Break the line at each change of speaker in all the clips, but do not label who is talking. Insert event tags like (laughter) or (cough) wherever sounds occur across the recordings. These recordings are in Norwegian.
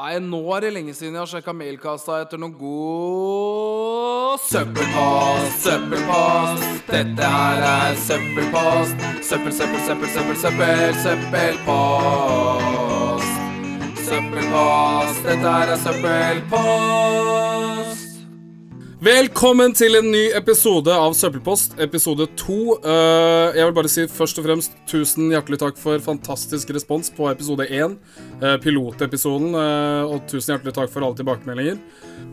Nei, nå er det lenge siden jeg har sjekka mailkassa etter noen god søppelpost. Søppelpost. Dette her er søppelpost. Søppel, søppel, søppel, søppel, søppel, søppelpost. Søppelpost. Dette her er søppelpost.
Velkommen til en ny episode av Søppelpost, episode to. Eh, jeg vil bare si først og fremst tusen hjertelig takk for fantastisk respons på episode én, eh, pilotepisoden, eh, og tusen hjertelig takk for alle tilbakemeldinger.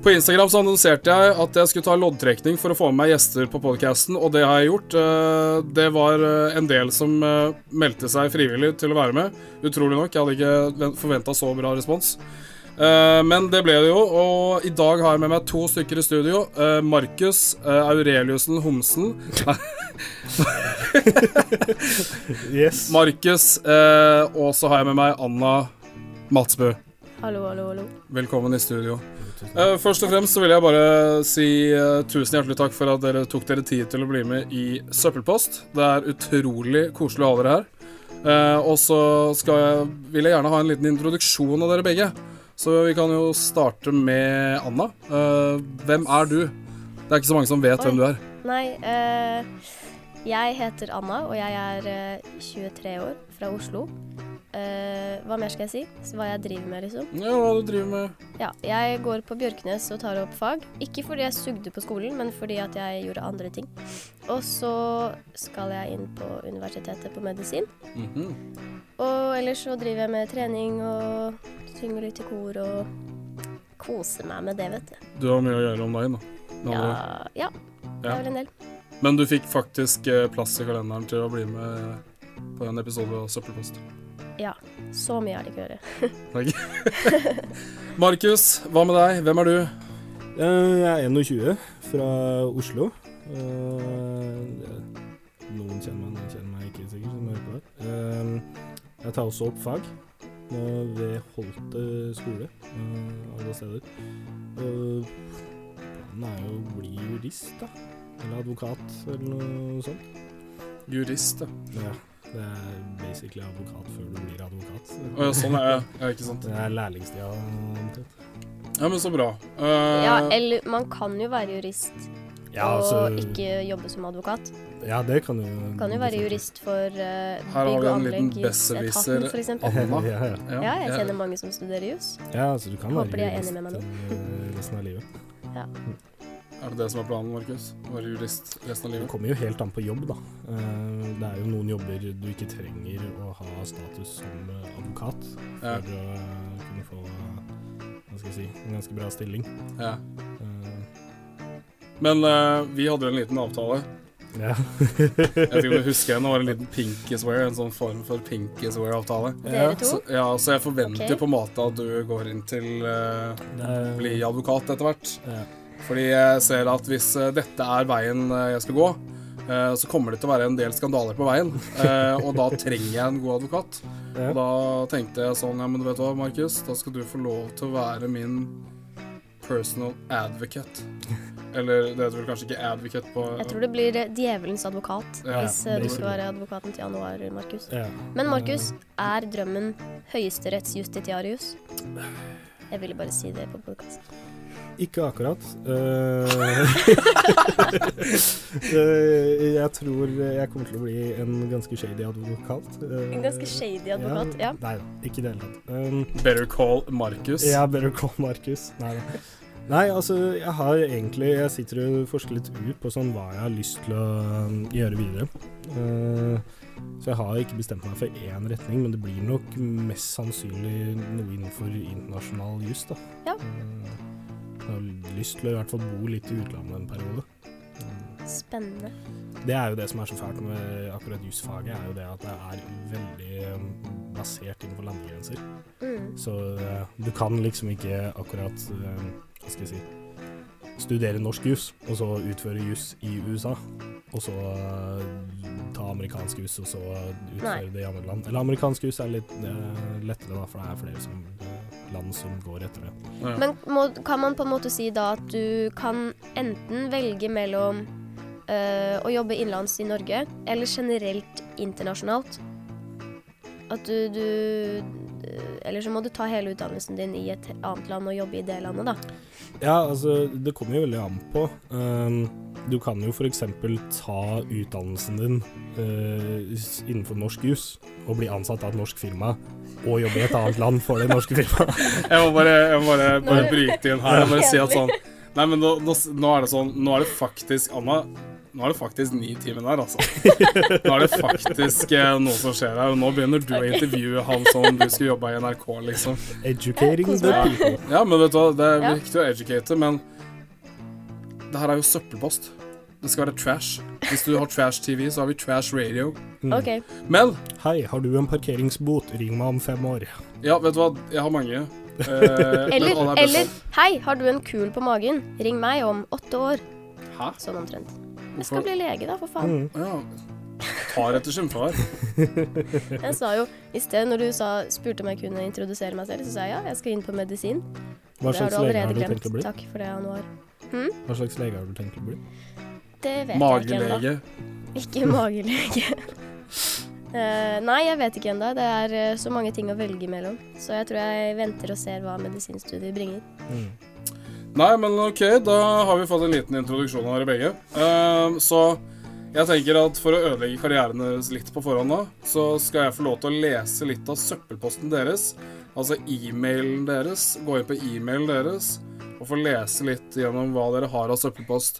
På Instagram så annonserte jeg at jeg skulle ta loddtrekning for å få med meg gjester på podkasten, og det har jeg gjort. Eh, det var eh, en del som eh, meldte seg frivillig til å være med. Utrolig nok. Jeg hadde ikke forventa så bra respons. Eh, men det ble det jo, og i dag har jeg med meg to stykker i studio. Eh, Markus eh, Aureliussen Homsen.
Yes.
Markus, eh, og så har jeg med meg Anna Matsbø.
Hallo, hallo, hallo.
Velkommen i studio. Eh, først og fremst så vil jeg bare si eh, tusen hjertelig takk for at dere tok dere tid til å bli med i Søppelpost. Det er utrolig koselig å ha dere her. Eh, og så skal jeg, vil jeg gjerne ha en liten introduksjon av dere begge. Så vi kan jo starte med Anna. Eh, hvem er du? Det er ikke så mange som vet
Oi.
hvem du er.
Nei, eh, jeg heter Anna, og jeg er eh, 23 år, fra Oslo. Eh, hva mer skal jeg si? S- Hva jeg driver med, liksom?
Ja, hva du driver med.
Ja, jeg går på Bjørknes og tar opp fag. Ikke fordi jeg sugde på skolen, men fordi at jeg gjorde andre ting. Og så skal jeg inn på universitetet på medisin.
Mhm.
Og ellers så driver jeg med trening og synger litt i kor og koser meg med det, vet du.
Du har mye å gjøre om dagen, da. Med andre ord.
Ja, ja det
Ja.
er vel en del.
Men du fikk faktisk eh, plass i kalenderen til å bli med på en episode av Søppelpost.
Så mye har de ikke å gjøre.
Markus, hva med deg? Hvem er du?
Eh, Jeg er 21, fra Oslo. Eh, Noen kjenner meg, noen kjenner meg ikke sikkert, som hører på det. Eh, Jeg tar også opp fag nå ved Holte skole, eh, alle steder. Eh, Planen er jo å bli jurist, da. Eller advokat, eller noe sånt.
Jurist, ja.
Ja, det er basically advokat før du blir advokat.
Å, ja, sånn er jeg. Ja, ikke sant.
Det er lærlingstida. omtrent.
Ja, men så bra. Eh,
Ja, eller man kan jo være jurist
Ja,
og
altså-
ikke jobbe som advokat.
Ja, det kan jo
Kan jo være jurist for eh,
Her har vi
bygg og
en liten
anlegg i
besserwisser.
etaten, for eksempel.
Anna.
(laughs) ja, ja.
Ja,
Ja, jeg
jeg-
kjenner mange som studerer jus.
ja, altså du kan
Håper de
være
er
jurist
enige med meg
eh, resten av livet.
Er det det som er planen, Markus? Å være jurist resten av
Det
livet?
kommer jo helt an på jobb, da. Eh, Det er jo noen jobber du ikke trenger å ha status som eh, advokat
Ja,
for å eh, kunne få eh, hva skal jeg si, en ganske bra stilling.
ja.
Eh,
Men eh, vi hadde jo en liten avtale.
Ja.
Jeg vet ikke om du husker henne, det var en liten pinkiswear, en sånn form for pinkiswear-avtale.
(laughs) Dere to?
Så, ja, så jeg forventer
Ok.
på en måte at du går inn til eh,
Det er-
bli advokat etter hvert.
Ja.
Fordi jeg ser at hvis eh, dette er veien eh, jeg skal gå, eh, så kommer det til å være en del skandaler på veien. eh, Og da trenger jeg en god advokat.
Ja.
Og da tenkte jeg sånn, ja, men du vet hva, Markus, da skal du få lov til å være min personal advocate. Eller det heter vel kanskje ikke advocate på
Jeg tror det blir eh, djevelens advokat
Ja,
hvis eh, du skal
basically.
være advokaten til januar, Markus.
Ja.
Men Markus, er drømmen høyesterettsjustitiarius? Jeg ville bare si det på podkast.
Ikke akkurat. Eh, (laughs) eh, jeg tror jeg kommer til å bli en ganske shady advokat. eh,
En ganske shady advokat, ja.
Nei da, ikke i det hele tatt. Um,
Better call Markus.
jeg er better call Markus. Nei da. Nei, altså, jeg har egentlig Jeg sitter og forsker litt ut på sånn hva jeg har lyst til å um, gjøre videre. Eh, så jeg har ikke bestemt meg for én retning, men det blir nok mest sannsynlig noe innenfor internasjonal jus, da.
Ja.
Eh, jeg har lyst til å i hvert fall bo litt i utlandet en periode. Mm.
Spennende.
Det er jo det som er så fælt med akkurat jusfaget, er jo det at det er veldig eh, basert innenfor landegrenser.
Mm.
Så eh, du kan liksom ikke akkurat eh, Hva skal jeg si Studere norsk jus, og så utføre jus i USA. Og så eh, ta amerikansk jus, og så utføre
Nei.
det i andre land. Eller amerikansk jus er litt eh, lettere, da, for det er flere som, eh, land som går etter det.
Ja.
Men må, kan man på en måte si da at du kan enten velge mellom øh, å jobbe innenlands i Norge, eller generelt internasjonalt? At du, du øh, Eller så må du ta hele utdannelsen din i et annet land og jobbe i det landet, da.
Ja, altså, det kommer jo veldig an på. Ehm, du kan jo f.eks. ta utdannelsen din eh, s- innenfor norsk jus og bli ansatt av et norsk firma og jobbe i et annet land for det norske firmaet.
(laughs) Jeg må bare, jeg må bare, bare
Nå er det-
bryte inn her. Jeg bare si at sånn Nei, men nå, nå, nå er det sånn Nå er det faktisk Anna nå er det faktisk ni timen her, altså. Nå er det faktisk eh, noe som skjer her. Og nå begynner du å intervjue han som du skulle jobbe i NRK, liksom.
Educating the
Ja, Eh, kos
people.
Ja, men vet du hva, det er
Ja.
viktig å educate, men det her er jo søppelpost. Det skal være trash. Hvis du har trash TV, så har vi trash radio.
OK.
Men
Mm. Hei, har du en parkeringsbot? Ring meg om fem år.
ja, vet du hva, jeg har mange. Eh, men
Eller,
alle er best
eller Hei, har du en kul på magen? Ring meg om åtte år.
sånn. Hæ?
Sånn omtrent. Jeg
Hvorfor?
skal bli lege, da, for faen.
Mm.
Ja. Tar etter sin far.
Jeg sa jo i sted, når du sa, spurte om jeg kunne introdusere meg selv, så sa jeg ja, jeg skal inn på medisin.
Hva
det har
slags
du
lege
allerede
har du
glemt.
tenkt å bli?
Takk for det, Anuar.
Hva slags lege har du tenkt å bli?
Det vet jeg ikke ennå.
Magelege.
Ikke magelege. (laughs) Eh, nei, jeg vet ikke ennå. Det er eh, så mange ting å velge mellom. Så jeg tror jeg venter og ser hva medisinstudiet bringer.
Nei, men ok, da har vi fått en liten introduksjon av dere begge. Ehm, så jeg tenker at for å ødelegge karrieren deres litt på forhånd da, så skal jeg få lov til å lese litt av søppelposten deres. Altså e-mailen deres. Gå inn på e-mailen deres og få lese litt gjennom hva dere har av søppelpost.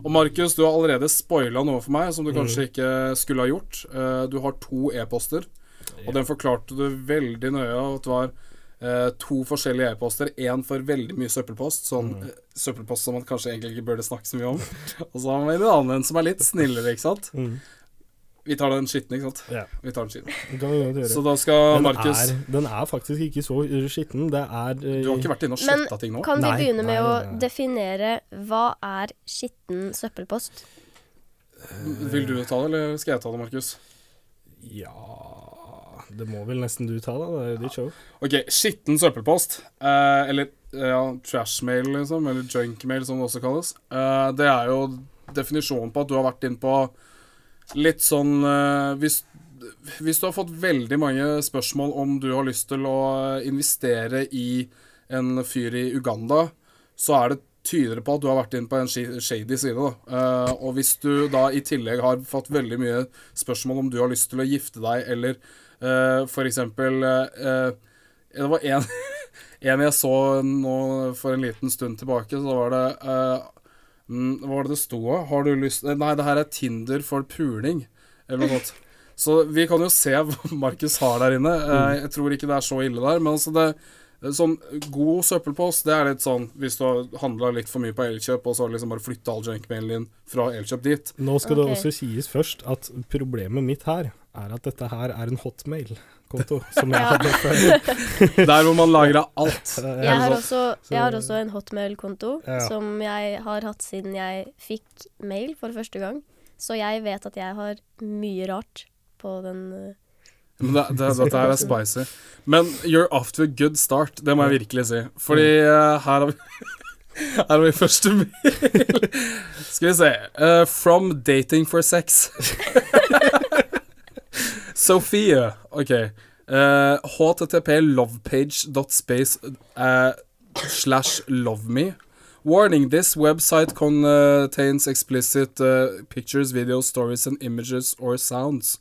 Og Markus, du har allerede spoila noe for meg som
Mm.
du kanskje ikke skulle ha gjort. Eh, Du har to e-poster. Og den forklarte du veldig nøye at det var eh, to forskjellige e-poster. Én for veldig mye søppelpost, sånn
Mm.
eh, søppelpost som man kanskje egentlig ikke burde snakke så mye om. (laughs) og så har man en annen som er litt snillere, ikke sant. Vi tar den skitne, ikke sant.
Mm. Ja,
Vi tar den skitne.
det kan vi godt gjøre.
Så da skal
Den
Markus
er, den er faktisk ikke så eh, skitten. Det er eh,
Du har ikke vært inne og
Men
sletta ting nå?
kan vi
Nei,
begynne med
nei,
å
nei, nei.
definere hva er skitten søppelpost?
Vil du ta det, eller skal jeg ta det, Markus?
Ja Det må vel nesten du ta, da. Det er jo ditt show.
Ok, skitten søppelpost, eh, eller eh, ja, trashmail, liksom, eller junkmail, som det også kalles, eh, det er jo definisjonen på at du har vært inn på litt sånn eh, hvis, hvis du har fått veldig mange spørsmål om du har lyst til å investere i en fyr i Uganda, så er det tydeligere på at du har vært inn på en shi- shady side. Da. Eh, og hvis du da i tillegg har fått veldig mye spørsmål om du har lyst til å gifte deg, eller eh, for eksempel eh, eh, Det var en, (laughs) en jeg så nå for en liten stund tilbake, så var det eh, mm, Hva var det det sto av? Har du lyst Nei, det her er Tinder for puling, eller noe sånt. Så vi kan jo se hva Markus har der inne. Eh, Jeg tror ikke det er så ille der, men altså det Sånn god søppelpost, det er litt sånn hvis du har handla litt for mye på Elkjøp, og så har du liksom bare flytta all junkmailen din fra Elkjøp dit.
Nå skal
Ok.
det også sies først at problemet mitt her er at dette her er en hotmail-konto som jeg hadde før.
Der hvor man lagra alt.
Jeg har
så-
også, jeg har også en hotmail-konto
Ja.
som jeg har hatt siden jeg fikk mail for første gang. Så jeg vet at jeg har mye rart på den eh,
Men det, det, dette her er spicy. Men you're off to a good start, det må jeg virkelig si. Fordi eh, her har vi Her har vi (laughs) første mail. Skal vi se. Eh, from dating for sex. Sofie. Ok. Eh, HTTP lovepage.space eh, slash loveme. Warning, this website contains explicit eh, pictures, videos, stories and images or sounds.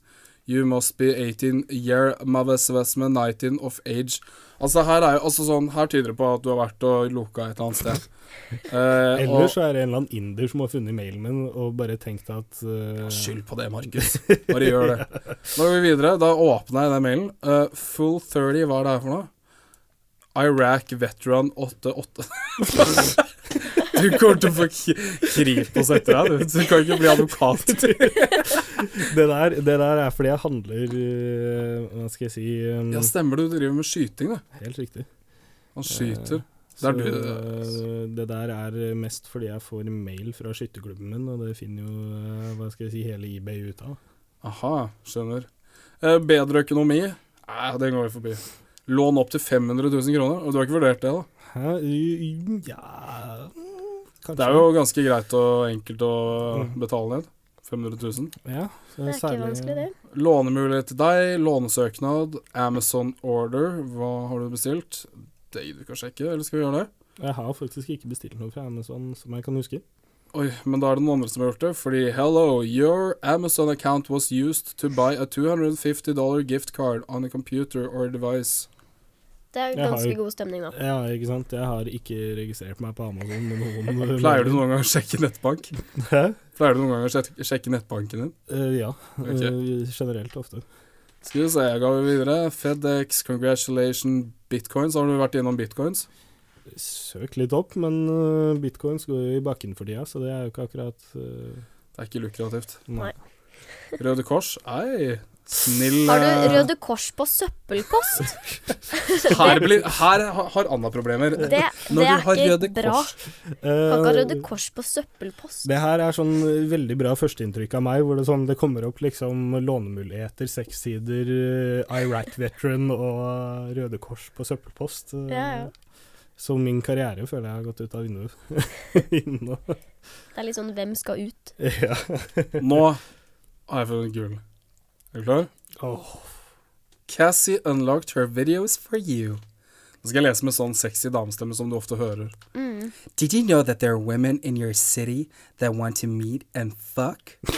You must be 18 year mavesvesme 19 of age. Altså her er jo altså sånn, her tyder det på at du har vært og loka et eller annet sted. Eh, og-
Ellers så er det en eller annen inder som har funnet mailen min og bare tenkt at eh,
Skyld på det, Markus. Bare gjør (laughs) det. Da går vi videre. Da åpna jeg den mailen. Eh, full 30, hva er det her for noe? Iraq veteran 88 (laughs) Du kommer til å få k- Kripos etter deg, du. Du kan ikke bli advokat.
(laughs) det, der, det der er fordi jeg handler eh, Hva skal jeg si eh,
Ja, stemmer det. Du driver med skyting, du.
Helt riktig. Eh,
Han skyter. Det
Så
er
eh, det der er mest fordi jeg får mail fra skytterklubben min, og det finner jo eh, hva skal jeg si, hele eBay ut av.
Aha, skjønner. Eh, bedre økonomi? Nei, den går vi forbi. Lån opp til 500 000 kroner? Og du har ikke vurdert det, da?
Hæ? Ja mm, Kanskje.
Mm. Det er jo ganske greit og enkelt å betale ned. 500 000.
Ja, så
Det er ikke vanskelig, det.
Lånemulighet til deg, lånesøknad, Amazon order. Hva har du bestilt? Det gidder vi ikke å sjekke, eller skal vi gjøre det?
Jeg har faktisk ikke bestilt noe fra Amazon som jeg kan huske.
Oi, men da er det noen andre som har gjort det, fordi Hello, your Amazon account was used to buy a $250 gift card on a computer or device.
Det er
Jeg har
ganske
jo-
god stemning nå.
Ja, ikke sant. Jeg har ikke registrert meg på Amazon med noen
Pleier du noen gang å sjekke nettbank?
Hæ?
Pleier du noen gang å sjek- sjekke nettbanken din?
Eh, ja.
Ok.
Eh, generelt ofte.
Skal vi se, jeg går videre. FedEx, congratulations, bitcoins. Har du vært gjennom bitcoins?
Søk litt opp, men eh, bitcoins går jo i bakken for tida, så det er jo ikke akkurat eh,
Det er ikke lukrativt.
Nei.
Nei.
Røde Kors, ei. Snill.
Har du
eh,
Røde Kors på
(laughs)
søppelpost?
Her, blir, her ha- har Anna problemer.
Det, det
Når du
er
har Røde
ikke bra.
Kors
Kan ikke ha
Eh,
Røde Kors på søppelpost.
Det her er sånn veldig bra førsteinntrykk av meg, hvor det, sånn, det kommer opp liksom lånemuligheter, sexsider, eh, Iraq veteran og Røde Kors på søppelpost. eh,
Ja, ja.
Så min karriere føler jeg har gått ut av vinduet. (laughs) Innen nå.
Det er litt sånn 'hvem skal ut'?
ja.
Nå har jeg funnet gull. Er du klar?
Åh,
Cassie unlocked her videos for you. Nå skal jeg lese med sånn sexy damestemme som du ofte hører.
Mm.
Did you know that there are women in your city that want to meet and fuck? (laughs)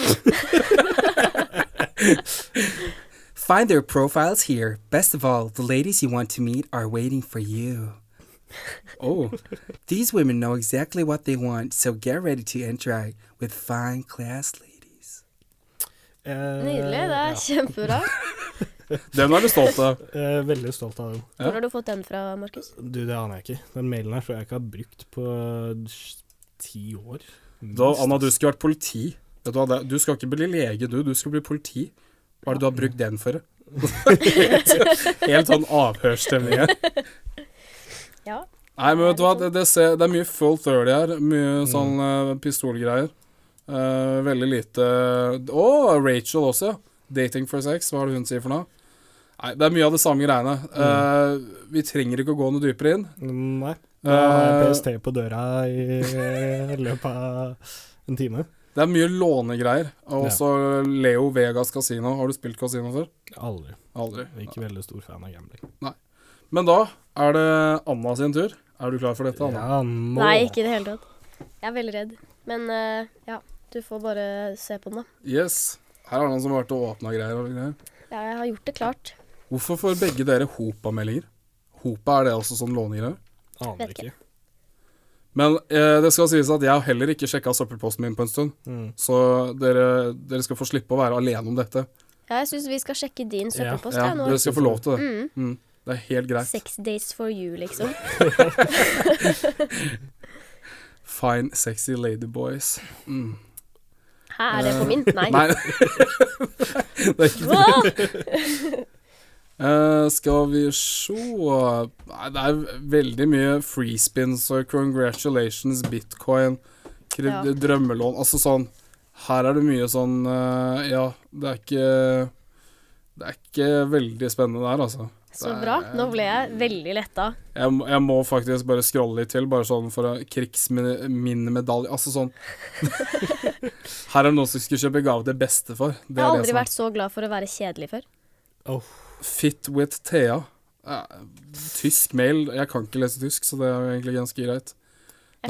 Find their profiles here. Best of all, the ladies you want to meet are waiting for you. Oh. These women know exactly what they want, so get ready to interact with fine class ladies.
eh,
Nydelig. Det er
ja.
(laughs)
kjempebra.
Den er du stolt (laughs) av.
Eh, veldig stolt av den.
Ja.
Hvor har du fått den fra, Markus?
Du, det aner jeg ikke. Den mailen her tror jeg ikke har brukt på sj- ti år.
Da, Anna, du skulle vært politi. Vet du, hva, det- er- du skal ikke bli lege, du. Du skal bli politi. Hva er det du har brukt den for? (laughs) helt, helt sånn avhørsstemning her.
Ja.
Nei, men vet du hva, det, det, ser, det er mye full 30 her. Mye
Mm.
sånn eh, pistolgreier. Eh, veldig lite Å, Rachel også, ja. 'Dating for sex', hva er det hun sier for noe? Nei, det er mye av det samme greiene. Eh, vi trenger ikke å gå noe dypere inn.
Nei. Da har jeg
Eh,
PST på døra i eh, løpet av en time.
det er mye lånegreier. Og
Ja.
også Leo Vegas kasino. Har du spilt kasino før?
Aldri.
Aldri.
Ikke veldig stor fan av gambling.
Men da er det Anna sin tur. Er du klar for dette, Anna?
Ja, nå.
Nei, ikke i det hele tatt. Jeg er veldig redd. Men eh, ja, du får bare se på den, da.
Yes. Her er det noen som har vært og åpna greier. og greier.
Ja, jeg har gjort det klart.
Hvorfor får begge dere Hopa-meldinger? Hopa, er det også sånn lånegreier?
Aner
Vet
ikke.
Men eh, det skal sies at jeg har heller ikke sjekka søppelposten min på en stund.
Mm.
Så dere, dere skal få slippe å være alene om dette.
Ja, jeg syns vi skal sjekke din søppelpost
Ja,
jeg, nå.
dere skal få lov til det. Mm. Det er helt greit.
Sex days for you, liksom.
Fine, sexy ladyboys. Mm.
Hæ, er det på min? Nei.
Eh, Nei. (laughs) det er ikke det. (laughs)
Hva?
Eh, skal vi sjå Nei, det er veldig mye freespins og congratulations, bitcoin, kred-
Ja.
drømmelån Altså sånn Her er det mye sånn eh, Ja, det er ikke Det er ikke veldig spennende der, altså.
Så bra. Nå ble jeg veldig letta.
Jeg, må- jeg må faktisk bare scrolle litt til, bare sånn for å krigsminnemedalje Altså
(laughs)
sånn Her er det noen som skulle kjøpe gave til bestefar. Det
Jeg har
er det
aldri
som er-
vært så glad for å være kjedelig før.
Fit with Thea. Eh, Tysk mail. Jeg kan ikke lese tysk, så det er jo egentlig ganske greit.
Jeg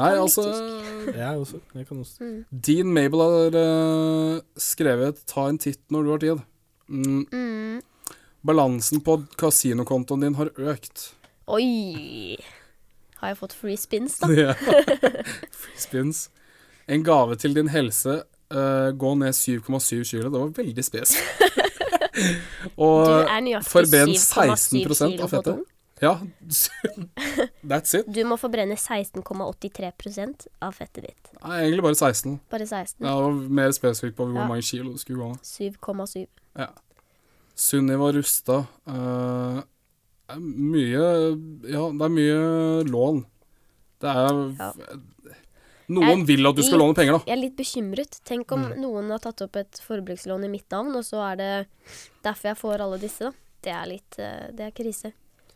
Nei,
kan litt
altså
tysk.
Jeg også. Jeg kan også.
Dean Mabel har eh, skrevet 'Ta en titt når du har tid'. Mm.
Mm.
Balansen på kasinokontoen din har økt.
Oi! Har jeg fått free spins, da?
(laughs) Ja. Free spins. En gave til din helse. eh, gå ned 7,7 kilo. Det var veldig
(laughs)
spes.
Du
Og
er nøyaktig
forbrenn
7,7
16%
kilo
av
på
fettet.
tung.
Ja, (laughs) that's it.
Du må forbrenne 16,83 av fettet ditt.
Nei, egentlig bare 16.
Bare 16.
Ja, og mer spesifikt på hvor
Ja.
mange kilo det skulle gå ned.
7,7.
Ja. Sunniva Rustad. eh, er mye Ja, det er mye lån. Det er
Ja.
Noen
Jeg-
vil at du skal
i-
låne penger, da.
Jeg er litt bekymret. Tenk om
Mm.
noen har tatt opp et forbrukslån i mitt navn, og så er det derfor jeg får alle disse, da. Det er litt eh, Det er krise.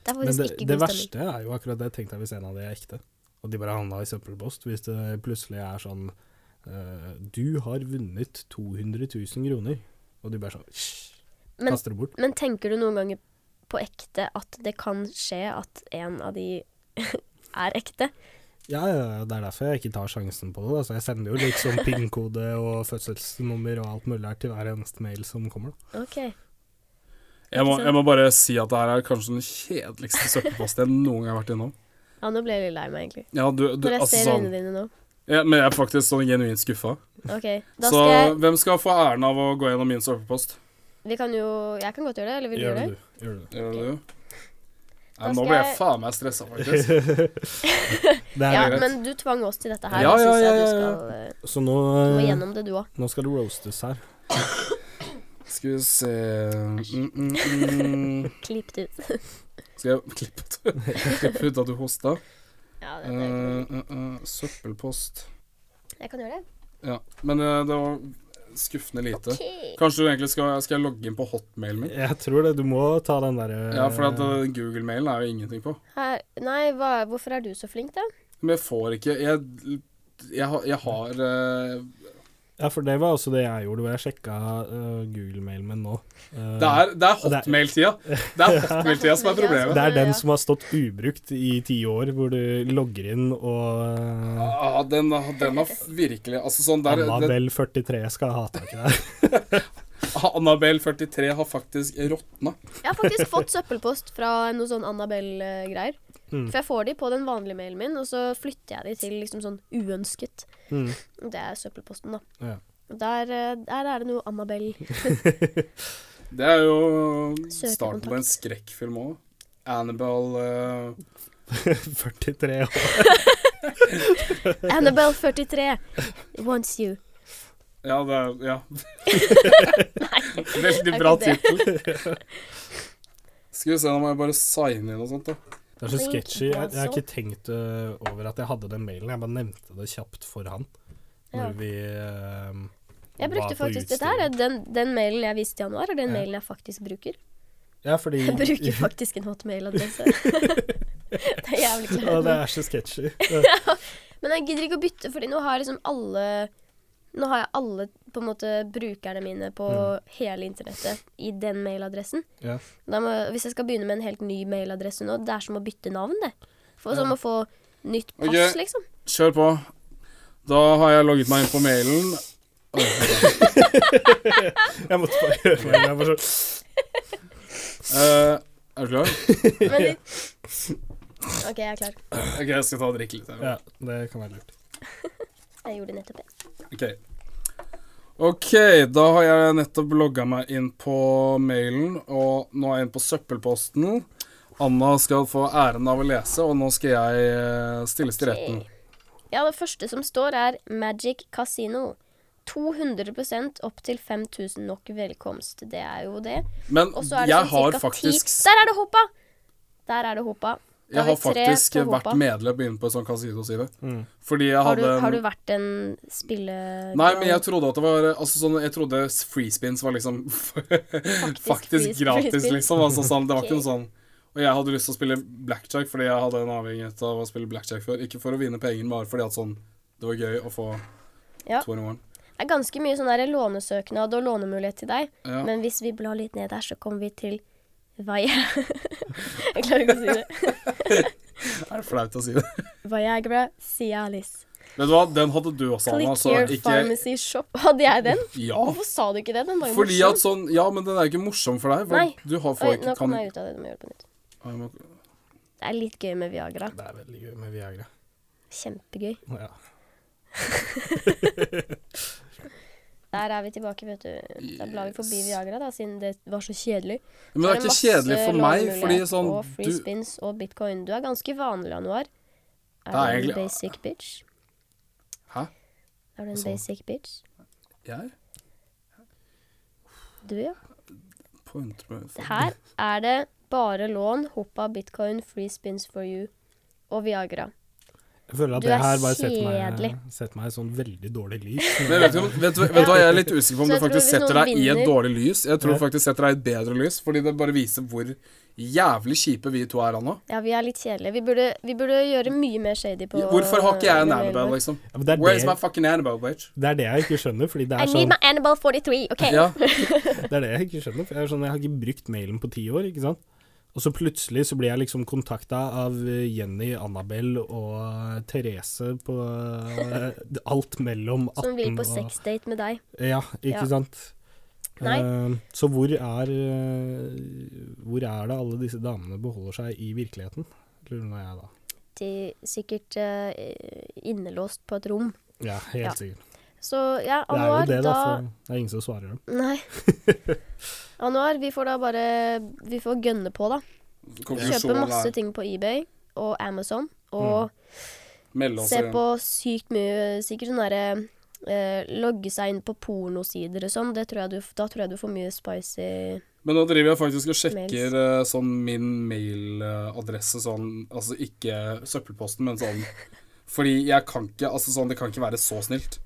Det er
Men
faktisk
det,
ikke
det
god stemning.
verste er jo akkurat det. Tenk deg hvis en av de er ekte, og de bare handla i søppelpost. Hvis det plutselig er sånn eh, Du har vunnet 200 000 kroner. Og du bare sånn «Hysj»,
Men-
Kaster det bort.
Men tenker du noen ganger på ekte at det kan skje at en av de (laughs) er ekte?
Ja, ja, ja, det er derfor jeg ikke tar sjansen på det. da. Så jeg sender jo liksom pin-kode og fødselsnummer og alt mulig her til hver eneste mail som kommer. da.
OK.
Jeg må,
Ikke sant?
jeg må bare si at det her er kanskje den kjedeligste søppelposten jeg noen gang har vært innom.
Ja, nå ble jeg litt lei meg, egentlig.
Ja, du, du,
Når jeg
altså,
ser
sånn,
øynene dine nå.
ja, men jeg er faktisk sånn genuint skuffa.
OK. Da
Så
skal jeg
hvem skal få æren av å gå gjennom min søppelpost?
Vi kan jo Jeg kan godt gjøre det, eller vil du gjøre det?
du. Gjør det.
Gjør du?
Da
Nei, nå
skal
ble jeg
jeg-
faen meg stressa,
(laughs)
faktisk.
det er
Ja,
greit.
men du tvang oss til dette her.
Ja,
da
ja, ja,
synes jeg
ja,
du
ja.
skal eh,
Så nå,
gå
eh,
gjennom det, du òg.
nå skal det roastes her.
Skal vi se mm, mm, mm.
Klipp det ut.
Skal jeg klippe ut, (laughs) klippe ut at du hosta?
Ja, det, det.
Eh, eh, eh, søppelpost
Jeg kan gjøre det.
Ja. Men eh, det var skuffende lite.
Ok.
Kanskje du egentlig skal, skal jeg logge inn på hotmailen min?
Jeg tror det. Du må ta den derre
Ja, for at eh, Google-mailen er jo ingenting på.
Her. Nei, hva, hvorfor er du så flink, da?
Men jeg får ikke Jeg, jeg, har- jeg har eh,
Ja, for det var også det jeg gjorde, hvor jeg sjekka eh, Google-mailen min nå. Eh,
Det er, det er
Og det er-
hotmail-tida.
(laughs)
Det er hotmail-tida som er
det
problemet.
Ja.
er den som har stått ubrukt i ti år, hvor du logger inn og eh,
Ah, den, den har virkelig Altså sånn der den-
Annabelle 43 skal ha tak i deg. (laughs)
Annabelle 43 har faktisk råtna.
Jeg har faktisk fått søppelpost fra noe sånn Annabelle-greier.
Mm.
For jeg får de på den vanlige mailen min, og så flytter jeg de til liksom sånn uønsket.
Mm.
Det er søppelposten, da.
Ja.
Og Der, eh, der er det noe Annabelle.
Det er jo
Søkekontakt.
starten på en skrekkfilm òg. Annabelle eh,
43 år.
Annabelle 43 wants you.
Ja, det er Ja. (laughs)
det
Veldig
er
bra
ikke det.
tittel. Skal vi se, nå må jeg bare signe inn og sånt, da.
Det er så
Blink,
sketchy. Jeg, jeg
altså.
har ikke tenkt øh, over at jeg hadde den mailen. Jeg bare nevnte det kjapt for han. Når
Ja.
vi øhm,
Jeg
var
brukte
på
faktisk dette her.
utstilling.
er Den, den mailen jeg viste i januar, er den
Ja.
mailen jeg faktisk bruker.
Ja, fordi
(laughs) Jeg bruker faktisk en
(laughs)
hotmail-adresse. det er jævlig
Å,
kleint.
(laughs) det er så sketchy.
Men jeg gidder ikke å bytte, fordi nå har jeg liksom alle Nå har jeg alle på en måte brukerne mine på
Mm.
hele internettet i den mailadressen.
Ja.
Da må, hvis jeg skal begynne med en helt ny mailadresse nå, det er som å bytte navn, det. For som å få nytt pass,
Ok.
liksom.
Kjør på. Da har jeg logget meg inn på mailen.
Jeg måtte bare gjøre det. Jeg var så,
Eh, er du klar?
(laughs)
Men litt. OK, jeg er klar.
OK, jeg skal ta og drikke litt. her.
ja, det kan være lurt.
Jeg gjorde det nettopp det.
Ok. Ok, da har jeg nettopp logga meg inn på mailen, og nå er jeg inne på søppelposten. Anna skal få æren av å lese, og nå skal jeg eh, stilles til retten.
Ja, det første som står er Magic Casino. 200 opp til 5000 nok velkomst. Det er jo det.
Men
Og så er det
jeg
sånn
har
ca.
faktisk,
10 Der er det hoppa! Der er det hoppa. Da
jeg
har
har
vi tre
faktisk
på
vært
hoppa.
medlem inne på en sånn kasinoside.
Mm.
Fordi jeg
Har du,
hadde
har du
en
vært en spille...
Nei, men jeg trodde at det var Altså sånn, jeg trodde freespins var liksom (laughs) Faktisk,
free-
gratis,
freespin.
liksom. Altså sånn, det var ikke
Ok.
noe sånn Og jeg hadde lyst til å spille blackjack fordi jeg hadde en avhengighet av å spille blackjack før. Ikke for å vinne penger, men bare fordi at sånn Det var gøy å få
Ja.
to i morgen.
Det er ganske mye sånn der lånesøknad og lånemulighet til deg.
Ja.
Men hvis vi blar litt ned der, så kommer vi til Vaja. jeg (laughs) klarer ikke å si det.
Er det flaut å si det?
Viagra Cialis.
Vet du hva, den hadde du også, Anna.
Click
Så
your
Sånn, altså, ikke
pharmacy shop. (laughs) Hadde jeg den?
Ja.
Hvorfor sa du ikke det? Den var jo
Fordi
morsom.
at sånn Ja, men den er ikke morsom for deg. For
Nei.
Du har, får
Oi,
ikke
nå
kan,
kom jeg ut av det. Du må gjøre det på nytt.
Ja, jeg må-
Det er litt gøy med Viagra.
Det er veldig gøy med Viagra.
Kjempegøy.
Ja.
Der er vi tilbake, vet du. Da blar vi forbi Viagra, da, siden det var så kjedelig.
Men det er ikke
masse
kjedelig for meg,
lånemulighet
fordi sånn
Og free
du,
spins og bitcoin. Du er ganske vanlig, Januar.
Det er
Er, du en
egentlig-
basic bitch?
Hæ?
Er du en
Hva sa du?
basic bitch?
Jeg
Du, ja.
pointer meg for
Her er det bare lån, hoppa, bitcoin, free spins for you og Viagra.
Jeg føler at
Du
det
er
her bare setter meg,
kjedelig.
setter meg i sånn veldig dårlig lys.
Men vet du, vet, du- vet du hva, jeg er litt usikker på om det
Så jeg tror
faktisk
hvis
setter
noen
deg i et
vinner-
dårlig lys. Jeg tror
Ja.
det faktisk setter deg i et bedre lys, fordi det bare viser hvor jævlig kjipe vi to er, Anna.
Ja, vi er litt kjedelige. Vi burde, vi burde gjøre mye mer shady på
Hvorfor har ikke jeg en
eh,
Annabelle, liksom?
Ja, men det,
Where's
er
my
det,
fucking Annabelle, bitch?
det er det jeg ikke skjønner, fordi det
I need
er sånn
my Annabelle 43, OK?
Ja.
Det er det jeg ikke skjønner. For jeg, er sånn, jeg har ikke brukt mailen på ti år, ikke sant. Og så plutselig så blir jeg liksom kontakta av eh, Jenny, Annabelle og eh, Therese på eh, alt mellom 18
(laughs) Som vil på
og
sexdate med deg.
Ja,
Ja.
ikke sant.
Nei.
Eh, så hvor er eh, Hvor er det alle disse damene beholder seg i virkeligheten? Lurer nå jeg, da.
De sikkert eh, innelåst på et rom.
Ja, helt
Ja.
sikkert.
Så ja,
Det er jo
Anwar,
det, da,
da
for det er ingen som svarer (laughs) dem.
Nei. Anwar, vi får da bare Vi får gønne på, da. Kjøpe
Konklusjonen
masse
er
ting på eBay og Amazon.
Mm.
Og
melde oss
se
igjen.
på sykt mye Sikkert sånn derre eh, Logge seg inn på pornosider og sånn. Det tror jeg du, da tror jeg du får mye spicy
Men nå driver jeg faktisk og sjekker eh, sånn min mailadresse sånn Altså ikke søppelposten, men sånn Fordi jeg kan ikke Altså sånn, det kan ikke være så snilt.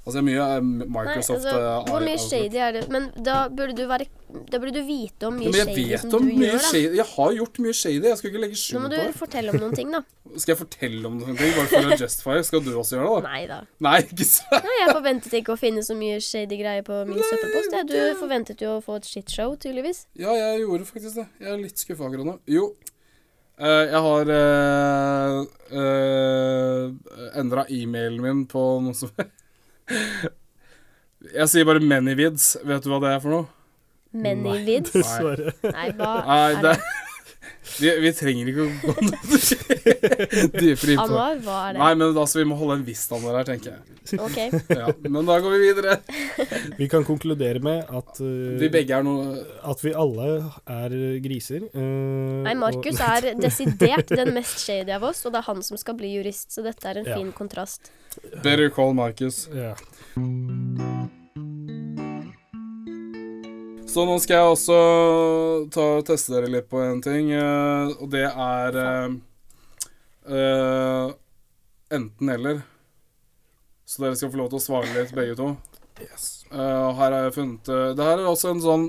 Altså det er mye eh,
Nei,
Microsoft
altså,
eh,
Hvor mye
Outlook.
shady er det? Men da burde du være Da burde du vite om mye
Men jeg
shady som
vet
du
om mye
gjør, da.
shady. Jeg har gjort mye shady. Jeg skal ikke legge
Nå
skjul
må
på
du
det.
fortelle om noen ting,
(laughs)
da.
Skal jeg fortelle om noen ting
(laughs)
bare for å justify? Skal du også gjøre det, da?
Nei da.
Nei, ikke sant?
Nei, jeg forventet ikke å finne så mye shady greier på min søppelpost. jeg. Du forventet jo å få et shitshow, tydeligvis.
(laughs) Ja, jeg gjorde faktisk det. Jeg er litt skuffa akkurat nå. Jo. eh, jeg har uh, endra e-mailen min på noe som (laughs) Jeg sier bare Manyvids. Vet du hva det er for noe?
Men i
Nei,
vids.
(laughs)
Dessverre.
Nei, hva
Nei,
er
det
det?
er (laughs) vi, vi trenger ikke å gå noe dypere inn på det.
Anwar, hva er det?
Nei, men altså, vi må holde en viss standard her, tenker jeg.
Ok.
Ja, men da går vi videre.
Vi kan konkludere med at eh,
Vi begge er noe
At vi alle er griser. eh,
Nei, Markus
og-
(laughs)
er desidert den mest shady av oss, og det er han som skal bli jurist, så dette er en
Ja.
fin kontrast.
Better call Marcus.
ja.
Så nå skal jeg også ta og teste dere litt på en ting, eh, og det er eh, eh, enten-eller. Så dere skal få lov til å svare litt, begge to. Eh, her har jeg funnet eh, Det her er også en sånn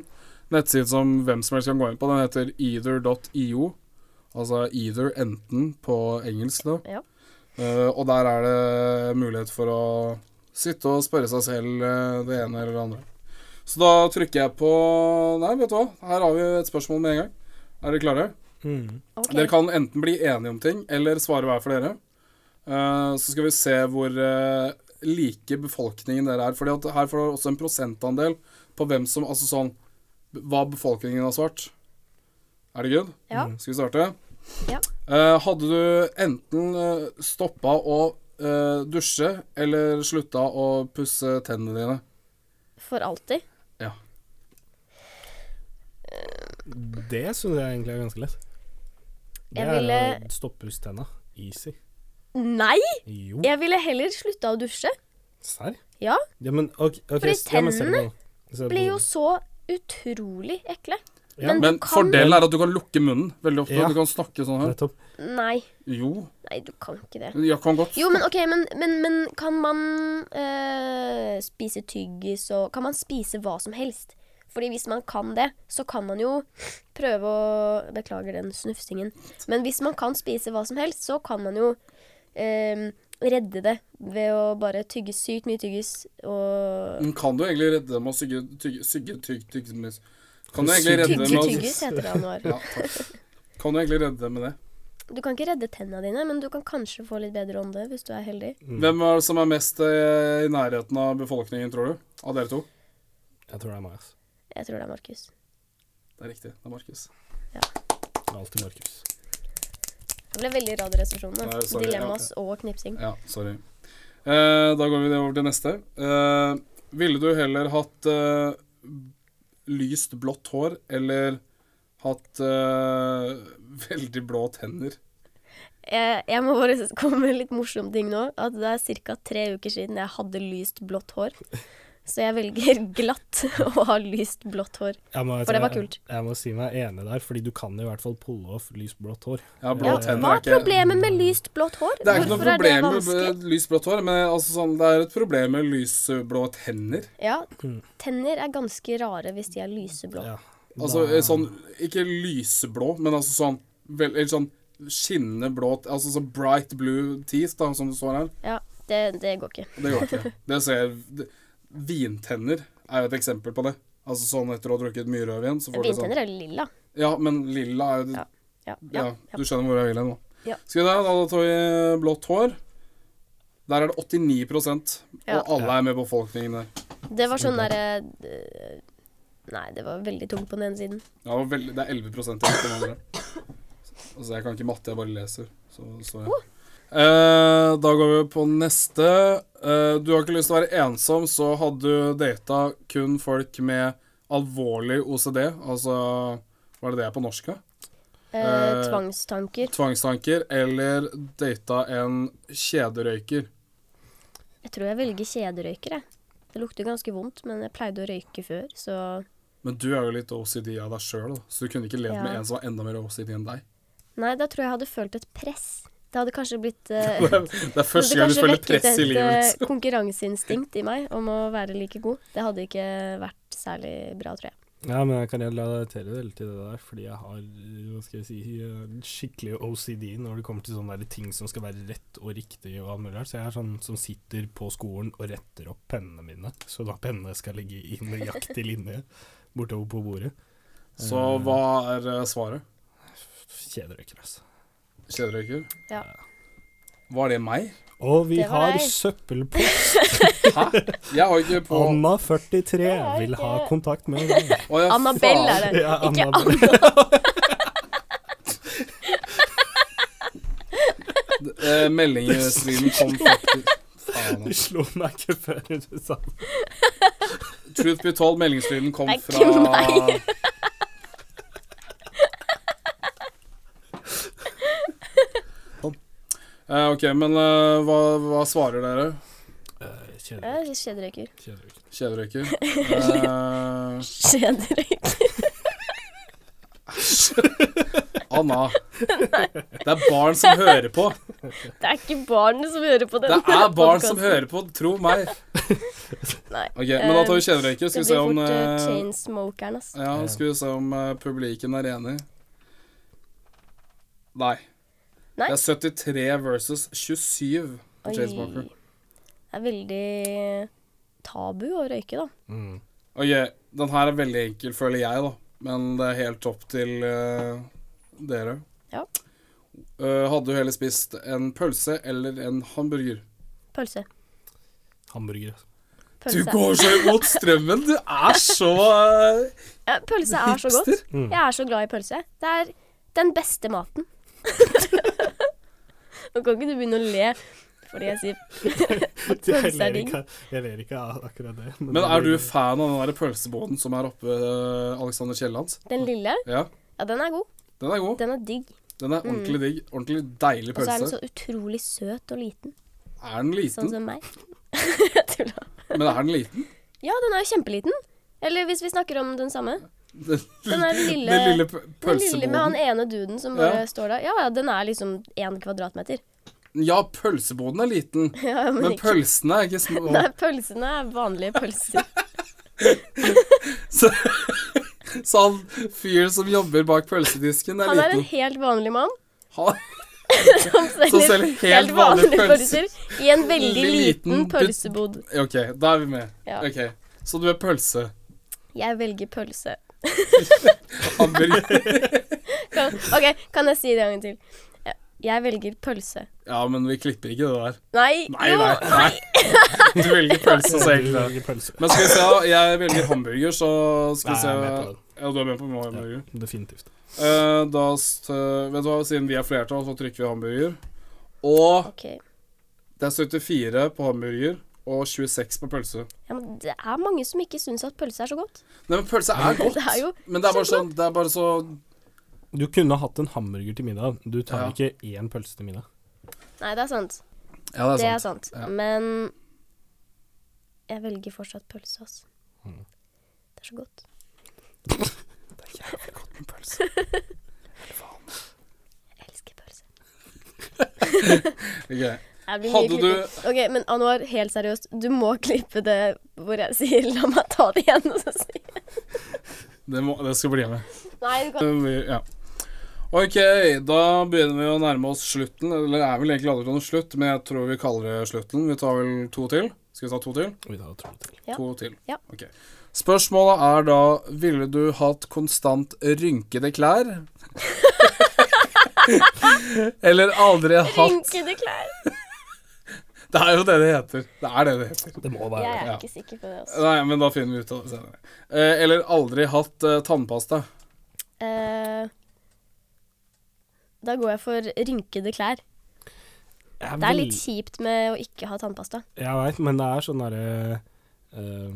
nettside som hvem som helst kan gå inn på. Den heter either.io. Altså either, enten, på engelsk, da.
Ja.
Eh, og der er det mulighet for å sitte og spørre seg selv eh, det ene eller det andre. Så da trykker jeg på Nei, vet du hva, her har vi et spørsmål med en gang. Er dere klare?
Mm.
Ok.
Dere kan enten bli enige om ting, eller svare hver for dere. Eh, så skal vi se hvor eh, like befolkningen dere er. Fordi at her får dere også en prosentandel på hvem som Altså sånn Hva befolkningen har svart. Er det good? Mm,
Ja.
Skal vi starte?
Ja.
Eh, hadde du enten uh, stoppa å eh, dusje eller slutta å pusse tennene dine?
For alltid.
Ja.
Det syns jeg egentlig er ganske lett. Det
Jeg
er
ville-
å stoppe tenna. Easy.
Nei!
Jo,
Jeg ville heller slutta å dusje.
serr?
Ja.
Ja, men ok, ok,
Fordi
s- ja, men se på
tennene
den. Se på
Blir jo
den.
så utrolig ekle.
Ja.
Men,
Men
du kan
fordelen er at du kan lukke munnen veldig ofte.
Ja.
Du kan snakke sånn her.
Nettopp.
Nei.
Jo,
Nei, du kan ikke det.
jeg kan godt
Jo, men ok, men, men, men kan man eh, spise tyggis og Kan man spise hva som helst? Fordi hvis man kan det, så kan man jo prøve å Beklager den snufsingen. Men hvis man kan spise hva som helst, så kan man jo eh, redde det ved å bare tygge sykt mye tyggis og
Men Kan du egentlig redde dem med å sygge tygge sygge tygg tyggis? Kan du egentlig redde dem
Tygge
med å
tyggis, heter det Anwar.
ja, takk. Kan du egentlig redde dem med det?
Du kan ikke redde tenna dine, men du kan kanskje få litt bedre ånde hvis du er heldig.
Hvem er det som er mest eh, i nærheten av befolkningen, tror du? Av dere to?
Jeg tror det er meg, ass.
Jeg tror det er Markus.
Det er riktig. Det er Markus.
Det er alltid Markus.
Det ble veldig radioresepsjon. da.
Nei, sorry,
Dilemmas og knipsing.
Ja, sorry. Eh, da går vi over til neste. Eh, ville du heller hatt eh, lyst blått hår eller hatt eh, (laughs) veldig blå tenner?
Jeg, jeg må bare (laughs) komme med en litt morsom ting nå. At det er ca. tre uker siden jeg hadde lyst blått hår. Så jeg velger (laughs) glatt og har lyst blått hår.
Jeg må,
For det var kult.
Jeg, jeg må si meg enig der, fordi du kan i hvert fall pulle off lyst blått hår.
Ja, blå
Ja,
tenner
hva
er
er
ikke
problemet med lyst blått hår?
Det er ikke noe
Hvorfor er det
problem
vanskelig?
med lys blått hår, men altså sånn, det er et problem med lysblå tenner.
Ja, tenner er ganske rare hvis de er lyseblå.
Ja.
Altså
Da-
sånn, ikke lyseblå, men altså sånn, vel, eller sånn skinnende blå Altså sånn bright blue teeth, da, som det står her.
Ja, det, det går ikke.
Det går ikke. Det ser det, Vintenner er jo et eksempel på det. Altså sånn etter å ha drukket mye rødvin, så får du sånn
Vintenner er lilla.
Ja, men lilla er jo det
Ja. Ja,
Ja,
ja, ja.
du skjønner hvor jeg vil hen nå.
Ja.
Skal vi da, da tar vi blått hår. Der er det 89
Ja.
og alle er med på befolkningen der.
Det var sånn derre eh, Nei, det var veldig tungt på den ene siden.
Ja, det var veldig, det er 11 igjen på den andre. Altså, jeg kan ikke matte, jeg bare leser. Så, så ja. Eh, da går vi på neste. Eh, du har ikke lyst til å være ensom, så hadde du data kun folk med alvorlig OCD, altså Hva er det det er på norsk, da?
Eh,
Eh,
tvangstanker.
Tvangstanker, eller data en kjederøyker.
Jeg tror jeg velger kjederøyker, jeg. Det lukter ganske vondt, men jeg pleide å røyke før, så
Men du er jo litt OCD av deg sjøl, så du kunne ikke levd
Ja.
med en som var enda mer OCD enn deg.
Nei, da tror jeg jeg hadde følt et press. Det hadde kanskje
(laughs)
blitt eh,
Det er, det er
det
første gang
hadde
du
kanskje
føler
vekket
press i
et,
livet.
eh,
liksom. (laughs)
konkurranseinstinkt i meg om å være like god. Det hadde ikke vært særlig bra, tror jeg.
Ja, men jeg kan relatere det hele til det der, fordi jeg har eh, hva skal jeg si, eh, skikkelig OCD når det kommer til sånne der ting som skal være rett og riktig og alt mulig der. Så jeg er sånn som sitter på skolen og retter opp pennene mine, så da pennene skal ligge i nøyaktig linje bortover på bordet.
Så hva er eh, svaret?
Kjederøyker, altså.
Kjederøyker?
Ja.
Var det meg?
Og vi
Det var
har
deg.
søppelpost.
(laughs)
Hæ? Jeg har ikke på
Anna43
har
vil ha
ikke-
kontakt
(laughs)
med deg.
Å, ja,
Annabelle er det.
Ja,
ikke
Anna-
Anna.
faen. Eh, Meldingesvinen kom faktisk Faen,
Du
altså.
slo meg ikke før du sa det.
Truth be told, meldingssvinen kom
Det er
fra
ikke meg.
Sånn. (laughs) Eh, OK, men eh, hva, hva svarer dere?
Eh,
Ja,
Kjederøyker.
Kjederøyker. (laughs)
kjederøyker.
Kjederøyker? Eh,
Kjederøyker.
Anna. Det er barn som hører på.
Det er ikke barnet som hører på
Det
den.
er barn som hører på, tro meg.
Nei.
OK, men da tar vi kjederøyker.
Det
Skal vi
blir
se om
fort eh,
eh,
chainsmokeren, ass.
Ja, skal vi se om eh, publiken er enig. Nei.
Nei?
Det er 73 versus 27 på
Oi.
Chainsmoker.
Det er veldig tabu å røyke, da.
Mm.
Ok, den her er veldig enkel, føler jeg, da. Men det er helt opp til eh, dere.
Ja.
Eh, hadde du heller spist en pølse eller en hamburger?
Pølse.
Hamburger. altså.
Du
Pølse.
går så imot strømmen! Du er så eh,
Ja, pølse er så godt.
hipster.
Mm.
Jeg er så glad i pølse. Det er den beste
(laughs)
maten. Nå kan ikke du begynne å le fordi jeg sier
Jeg
Pølse er
ler
digg.
ikke, jeg ler ikke av akkurat det.
Men er du fan av den der pølseboden som er oppe eh, Alexander Kiellands?
den lille.
Ja,
Ja, den er god.
den er god.
Den er digg.
Den er ordentlig digg. Ordentlig deilig
Mm. Og så
pølse. Mm.
er den så utrolig søt og liten.
Er den liten?
Sånn som meg. (laughs) Jeg tuller.
Men er den
(laughs)
liten?
Ja, den er jo kjempeliten. Eller hvis vi snakker om den samme.
Den,
Den er lille-
den lille p-
Den lille med han
pølseboden.
ene duden som bare
Ja.
står der. Ja, ja, den er liksom én kvadratmeter. (laughs)
Ja, pølseboden er liten,
Ja, men,
men
ikke.
pølsene er ikke små.
Nei, pølsene er vanlige
(laughs)
pølser.
Så, så han fyren som jobber bak pølsedisken, er
Han er en
liten.
helt vanlig mann
Han,
som selger,
selger helt
helt, vanlige,
vanlige
pølser i en veldig
Liten
liten
but-
pølsebod.
OK, da er vi med.
Ja.
Ok, Så du er pølse.
Jeg velger pølse. (laughs)
Hamburger.
Kan, ok, kan jeg si det en gang til? Ja, Jeg velger pølse.
Ja, men vi klipper ikke det der.
Nei,
Nei,
jo,
nei. nei. Du velger
(laughs)
pølse,
(laughs)
så
Du
egentlig. det.
lager pølse.
Men skal vi se, da, jeg velger hamburger, så skal vi
Nei,
se
jeg er med på det.
Ja, du er med på hamburger?
Definitivt.
Eh, da s- eh, Vet du hva, siden vi er flertall, så trykker vi hamburger. Og
Ok,
det er 74 på hamburger og 26 på pølse.
ja, men Det er mange som ikke syns at pølse er så godt.
Nei, men pølse er godt.
Det er jo
men det er bare sånn Det er bare så
Du kunne hatt en hamburger til middag. Du tar
Ja.
ikke én pølse til middag.
Nei, det er sant.
Ja,
Det er sant.
Ja.
Men Jeg velger fortsatt pølse, ass.
Mm.
Det er så
(laughs)
godt. (laughs) Jeg elsker pølse.
Ok.
Det blir mye
Hadde du
klipping. Ok, men Anwar, helt seriøst, du må klippe det hvor jeg sier 'la meg ta det igjen', og så sier jeg
det, må, det skal bli med.
Nei, du kan
Det blir- Ja. Ok, da begynner vi å nærme oss slutten. Eller det er vel egentlig aldri noen slutt, men jeg tror vi kaller det slutten. Vi tar vel to til. Skal vi ta to til?
Vi tar to til.
Ja.
To til.
Ja.
Ok. Spørsmålet er da Ville du hatt konstant rynkede klær? (laughs) Eller aldri hatt
rynke det klær.
Det er jo det det heter. Det er det det heter.
Det må være
Jeg
det.
er
Ja.
ikke sikker på det, altså.
Nei, men da finner vi ut av det senere. Eh, eller aldri hatt eh, tannpasta.
Eh, da går jeg for rynkede klær.
Jeg
Det er
vil-
litt kjipt med å ikke ha tannpasta.
Jeg veit, men det er sånn derre eh,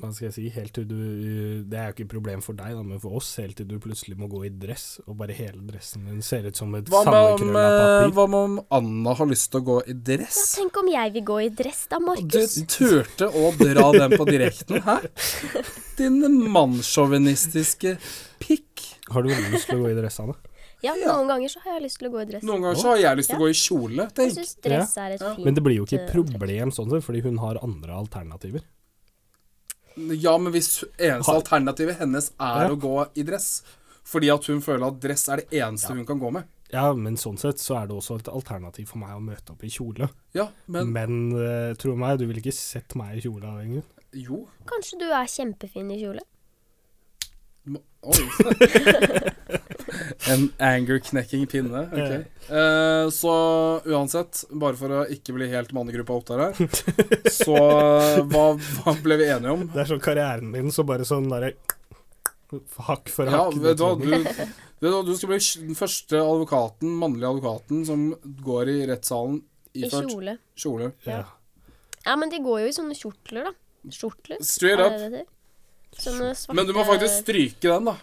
Hva skal jeg si Helt til du Det er jo ikke et problem for deg, da, men for oss, helt til du plutselig må gå i dress, og bare hele dressen din ser ut som et
Hva med, om,
sammenkrølla
eh,
papir.
hva med om Anna har lyst til å gå i
Ja,
dress?
tenk om jeg vil gå i dress, da,
Du
Markus.
turte å dra den på direkten, hæ? Din mannssjåvinistiske pikk.
Har du lyst til å gå i dress, Anne?
Ja,
Ja.
noen ganger så har jeg lyst til å gå i dress.
Noen ganger så har jeg lyst til å
Ja.
gå i kjole.
Jeg
Tenk.
syns dress er et fint
Men det blir jo ikke et
eh,
problem sånn sett, fordi hun har andre alternativer.
Ja, men hvis eneste
Har-
alternativet hennes er
Ja.
å gå i dress Fordi at hun føler at dress er det eneste hun kan gå med.
Ja, men sånn sett så er det også et alternativ for meg å møte opp i kjole.
Ja, men
Men eh, tro meg, du ville ikke sett meg i kjole av en grunn.
jo.
Kanskje du er kjempefin i kjole.
Ma- Oi. (laughs) en anger-knekking pinne. Ok. Eh, så uansett, bare for å ikke bli helt mannegruppa Ottar
(laughs)
her, så eh, hva, hva ble vi enige om?
Det er sånn karrieren din, så bare sånn derre Hakk for
Ja,
hakk.
vet du hva, du, vet du, hva, du skal bli sj- den første advokaten, mannlige advokaten som går i rettssalen
I
iført
kjole.
kjole.
Ja.
Ja, men de går jo i sånne kjortler, da. Kjortler.
Straight
er
up.
det det heter? Sånne svarte
Men du må
eh,
faktisk stryke den, da.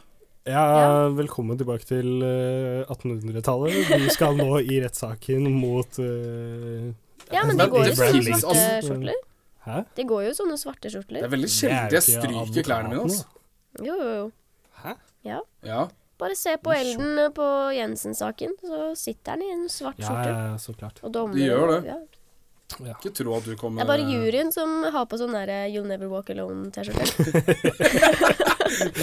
Ja, velkommen tilbake til eh, 1800-tallet. Vi skal nå i rettssaken mot eh,
Ja, men de
Men
går jo i
det
sånne
finnes
svarte
altså-
skjortler.
Hæ?
De går jo i sånne svarte
Det
skjortler.
er veldig
Det er
sjelden jeg
jo ikke
stryker klærne mine. Altså.
Jo, jo, jo.
Hæ?
Ja.
Ja.
Bare se på Elden på Jensen-saken, så sitter han i en svart
Ja,
skjorte.
ja, så klart.
Og dommer
De gjør det.
Ja.
Ikke tro at du
Det
kommer
er bare
(laughs)
juryen som har på sånn derre You'll Never Walk Alone-T-skjorte.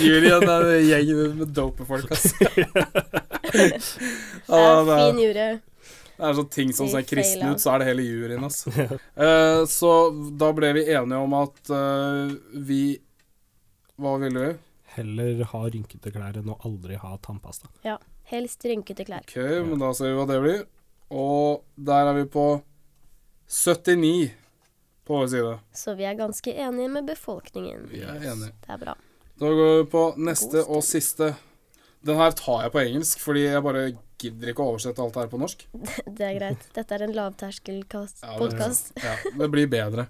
Julian er en gjeng med dope folk,
(laughs)
altså.
Det
Ja, det,
er
er,
Fin jury.
det er sånn ting som ser
Vi
kristen
faila.
ut, så er det hele juryen,
(laughs)
altså. Eh, så da ble vi enige om at eh, vi Hva ville vi?
Heller ha rynkete klær enn å aldri ha tannpasta.
Ja. Helst rynkete klær.
OK, men da ser vi hva det blir. Og der er vi på 79 på vår side.
Så vi er ganske enige med befolkningen.
Vi er enige.
Det er bra. (laughs)
Da går vi på
God
neste
stil.
og siste. Den her tar jeg på engelsk, fordi jeg bare gidder ikke å oversette alt det her på norsk.
Det er greit. Dette er en
Ja, det er
lavterskelpodkast.
(laughs) Ja, Det blir bedre.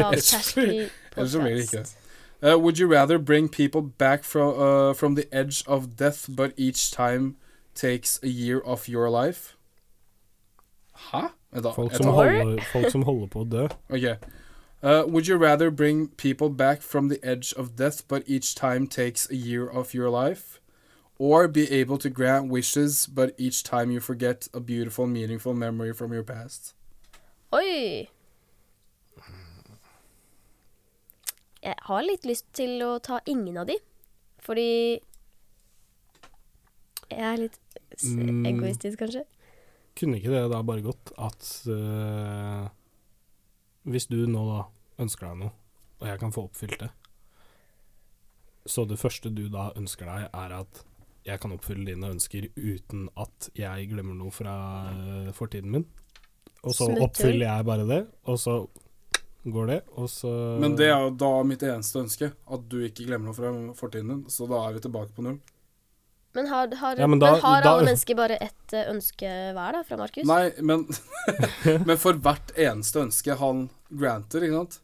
Ellers så blir det ikke.
Lavterskelpodkast.
Uh, would you rather bring people back from uh, from the edge of death, but each time takes a year of your life? Hæ? Vent da,
Folk
jeg
som,
tar-
Or-
holder, folk som holder på å dø.
Ok. Uh, would you rather bring people back from the edge of death, but each time takes a year of your life? Or be able to grant wishes, but each time you forget a beautiful, meaningful memory from your past?
Oi! Jeg har litt lyst til å ta ingen av de, fordi Jeg er litt s-
Mm.
egoistisk, kanskje.
Kunne ikke det da bare gått at eh, Hvis du nå da ønsker deg noe, og jeg kan få oppfylt det, så det første du da ønsker deg, er at jeg kan oppfylle dine ønsker uten at jeg glemmer noe fra eh, fortiden min. Og så
Smutthull.
oppfyller jeg bare det, og så går det, og så
Men det er jo da mitt eneste ønske, at du ikke glemmer noe fra fortiden din. Så da er vi tilbake på null.
Men har, har,
Ja,
men
men da-
har
da-
alle mennesker bare ett eh, ønske hver, da, fra Markus?
Nei, men, (laughs) men for hvert eneste ønske han granter, ikke sant,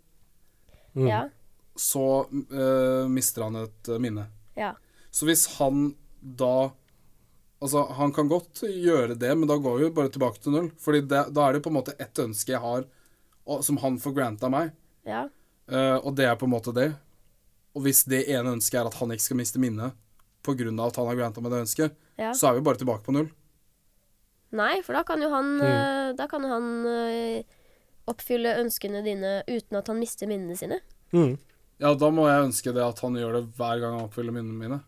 Mm.
Ja,
så eh, mister han et eh, minne.
ja.
Så hvis han da Altså, han kan godt gjøre det, men da går vi jo bare tilbake til null. Fordi det, da er det på en måte ett ønske jeg har og, som han får granta meg.
Ja.
Eh, og det er på en måte det. Og hvis det ene ønsket er at han ikke skal miste minnet pga. at han har granta meg det ønsket,
ja.
så er vi bare tilbake på null.
Nei, for da kan jo
Mm.
han, eh, da kan han eh, oppfylle ønskene dine uten at han mister minnene sine.
Mm.
Ja, da må jeg ønske det at han gjør det hver gang han oppfyller minnene mine.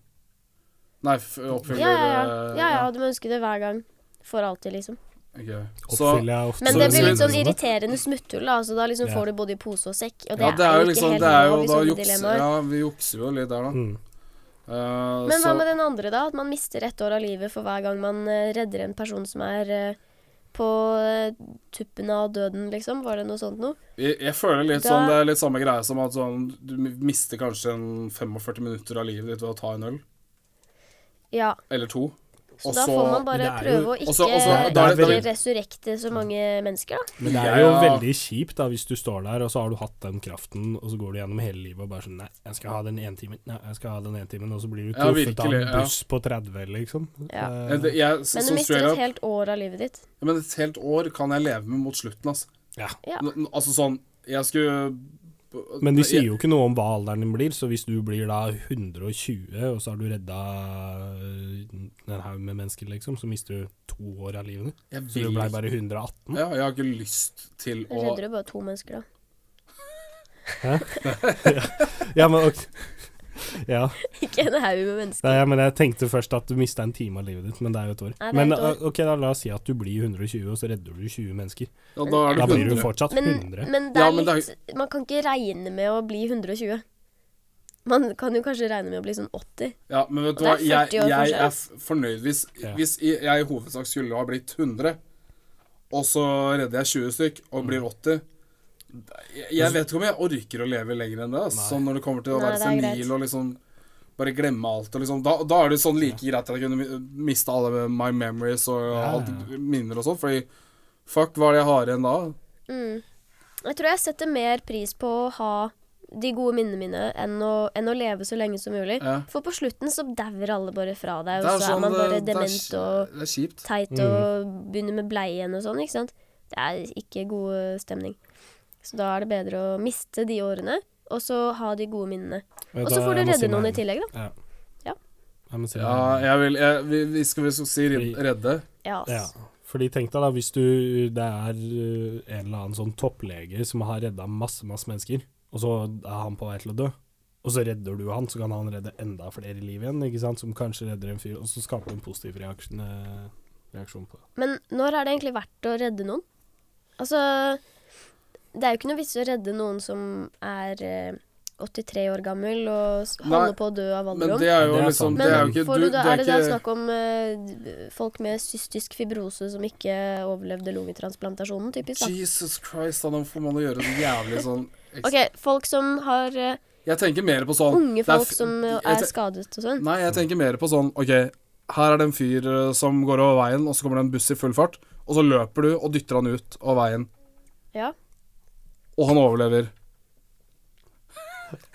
Nei, f- oppfyller
Ja, ja, ja.
eh,
ja, ja du må ønske det hver gang. For alltid, liksom.
Ok. Så,
Oppfyller jeg ofte
Men
Så-
det blir litt
så-
sånn irriterende smutthull, da. Altså, da liksom
Ja.
får du både i pose og sekk. Og det,
ja, det er jo
ikke
liksom
helt
Det er jo
lov i
da
sånne
juks...
dilemmaer.
Ja, vi jukser jo litt der, da.
Mm.
Eh,
Men hva
så-
med den andre, da? At man mister ett år av livet for hver gang man eh, redder en person som er eh, på eh, tuppen av døden, liksom? Var det noe sånt noe?
Jeg, jeg føler litt
Da-
sånn, Det er litt samme greie som at sånn, du mister kanskje en 45 minutter av livet ditt ved å ta en øl,
Ja.
eller to.
Så
Og
da
så-
får man bare
Men det er jo-
prøve å ikke,
Også- også-
da er det-
ikke resurrekte så mange mennesker, da.
Men det er jo
Ja.
veldig kjipt da hvis du står der, og så har du hatt den kraften, og så går du gjennom hele livet og bare sånn Nei, jeg skal ha den ene timen, nei, jeg skal ha den ene timen, og så blir du
Ja,
truffet av
virkelig,
en
ja.
buss på 30, liksom.
Ja.
Eh,
Jeg, jeg, så,
Men du mister
straight
et
up,
helt år av livet ditt.
men et helt år kan jeg leve med mot slutten, altså.
ja.
Ja.
N- n- Altså sånn Jeg skulle
Men de sier jo ikke noe om hva alderen din blir, så hvis du blir da 120, og så har du redda øh, en haug med mennesker, liksom, så mister du to år av livet ditt.
Jeg,
Så du
vil
blei
ikke-
bare 118.
ja, jeg har ikke lyst til
Da
å
redder du bare to mennesker, da. (laughs)
Ja, men ok. (laughs) Ja.
ikke en haug med mennesker.
Nei, ja, men jeg tenkte først at du mista en time av livet ditt, men det er jo et år.
Nei, det er
men
et år.
eh, ok, da la oss si at du blir 120, og så redder du 20 mennesker.
ja, Da er
Da
du
blir du
100.
fortsatt
Men,
100.
men det er
Ja, men det er-
litt Man kan ikke regne med å bli 120. Man kan jo kanskje regne med å bli sånn 80.
Ja, men vet du hva,
Og det er
jeg,
40 år
jeg
forskjell.
er f- fornøyd hvis,
Ja.
hvis i- jeg i hovedsak skulle ha blitt 100, og så redder jeg 20 stykk og blir
Mm.
80. Jeg, jeg vet ikke om jeg orker å leve lenger enn det. Altså.
Nei.
Sånn når det kommer til å
Nei,
være
det er greit.
senil og liksom bare glemme alt. Og liksom, da, da er det sånn like greit at jeg kunne mi- miste alle my memories og
ja,
alt
ja.
minner og sånn, fordi fuck, hva er det jeg har igjen da?
Mm. Jeg tror jeg setter mer pris på å ha de gode minnene mine enn å, enn å leve så lenge som mulig.
Ja.
For på slutten så dauer alle bare fra deg,
Det
og så
sånn
er man bare
det- det er
dement
kj-
og
Det er kjipt.
teit og
Mm.
begynner med bleie igjen og sånn, ikke sant. Det er ikke god eh, stemning. Så da er det bedre å miste de årene, og så ha de gode minnene. Og så får du redde noen i tillegg, da.
Ja.
Ja.
Jeg må si
Ja,
meg enig.
jeg vil jeg, vi, vi skal vi skal si
Fordi-
red- redde.
Ja,
Ja.
ass.
Fordi tenk deg da, hvis du, det er øh, en eller annen sånn topplege som har redda masse, masse mennesker, og så er han på vei til å dø, og så redder du han, så kan han redde enda flere i livet igjen, ikke sant, som kanskje redder en fyr, og så skaper du en positiv reaksjon, øh, reaksjon på det.
Men når er det egentlig verdt å redde noen? Altså, det er jo ikke noe vits i å redde noen som er eh, 83 år gammel og s-
Nei,
holder på å dø av
Men
alderdom.
det er jo
Det er
liksom
sant.
Det er jo
Men
ikke
får
du,
du da,
det
er det da
ikke-
snakk om eh, folk med cystisk fibrose som ikke overlevde lungetransplantasjonen, typisk? da?
Jesus Christ, da nå får man jo gjøre så jævlig sånn eks-
Ok, folk som har eh,
Jeg tenker mer på sånn
unge
det er
folk
f-
som eh,
jeg
er
te-
skadet og sånn.
Nei, jeg tenker mer på sånn Ok, her er det en fyr eh, som går over veien, og så kommer det en buss i full fart, og så løper du og dytter han ut av veien,
Ja.
og han overlever.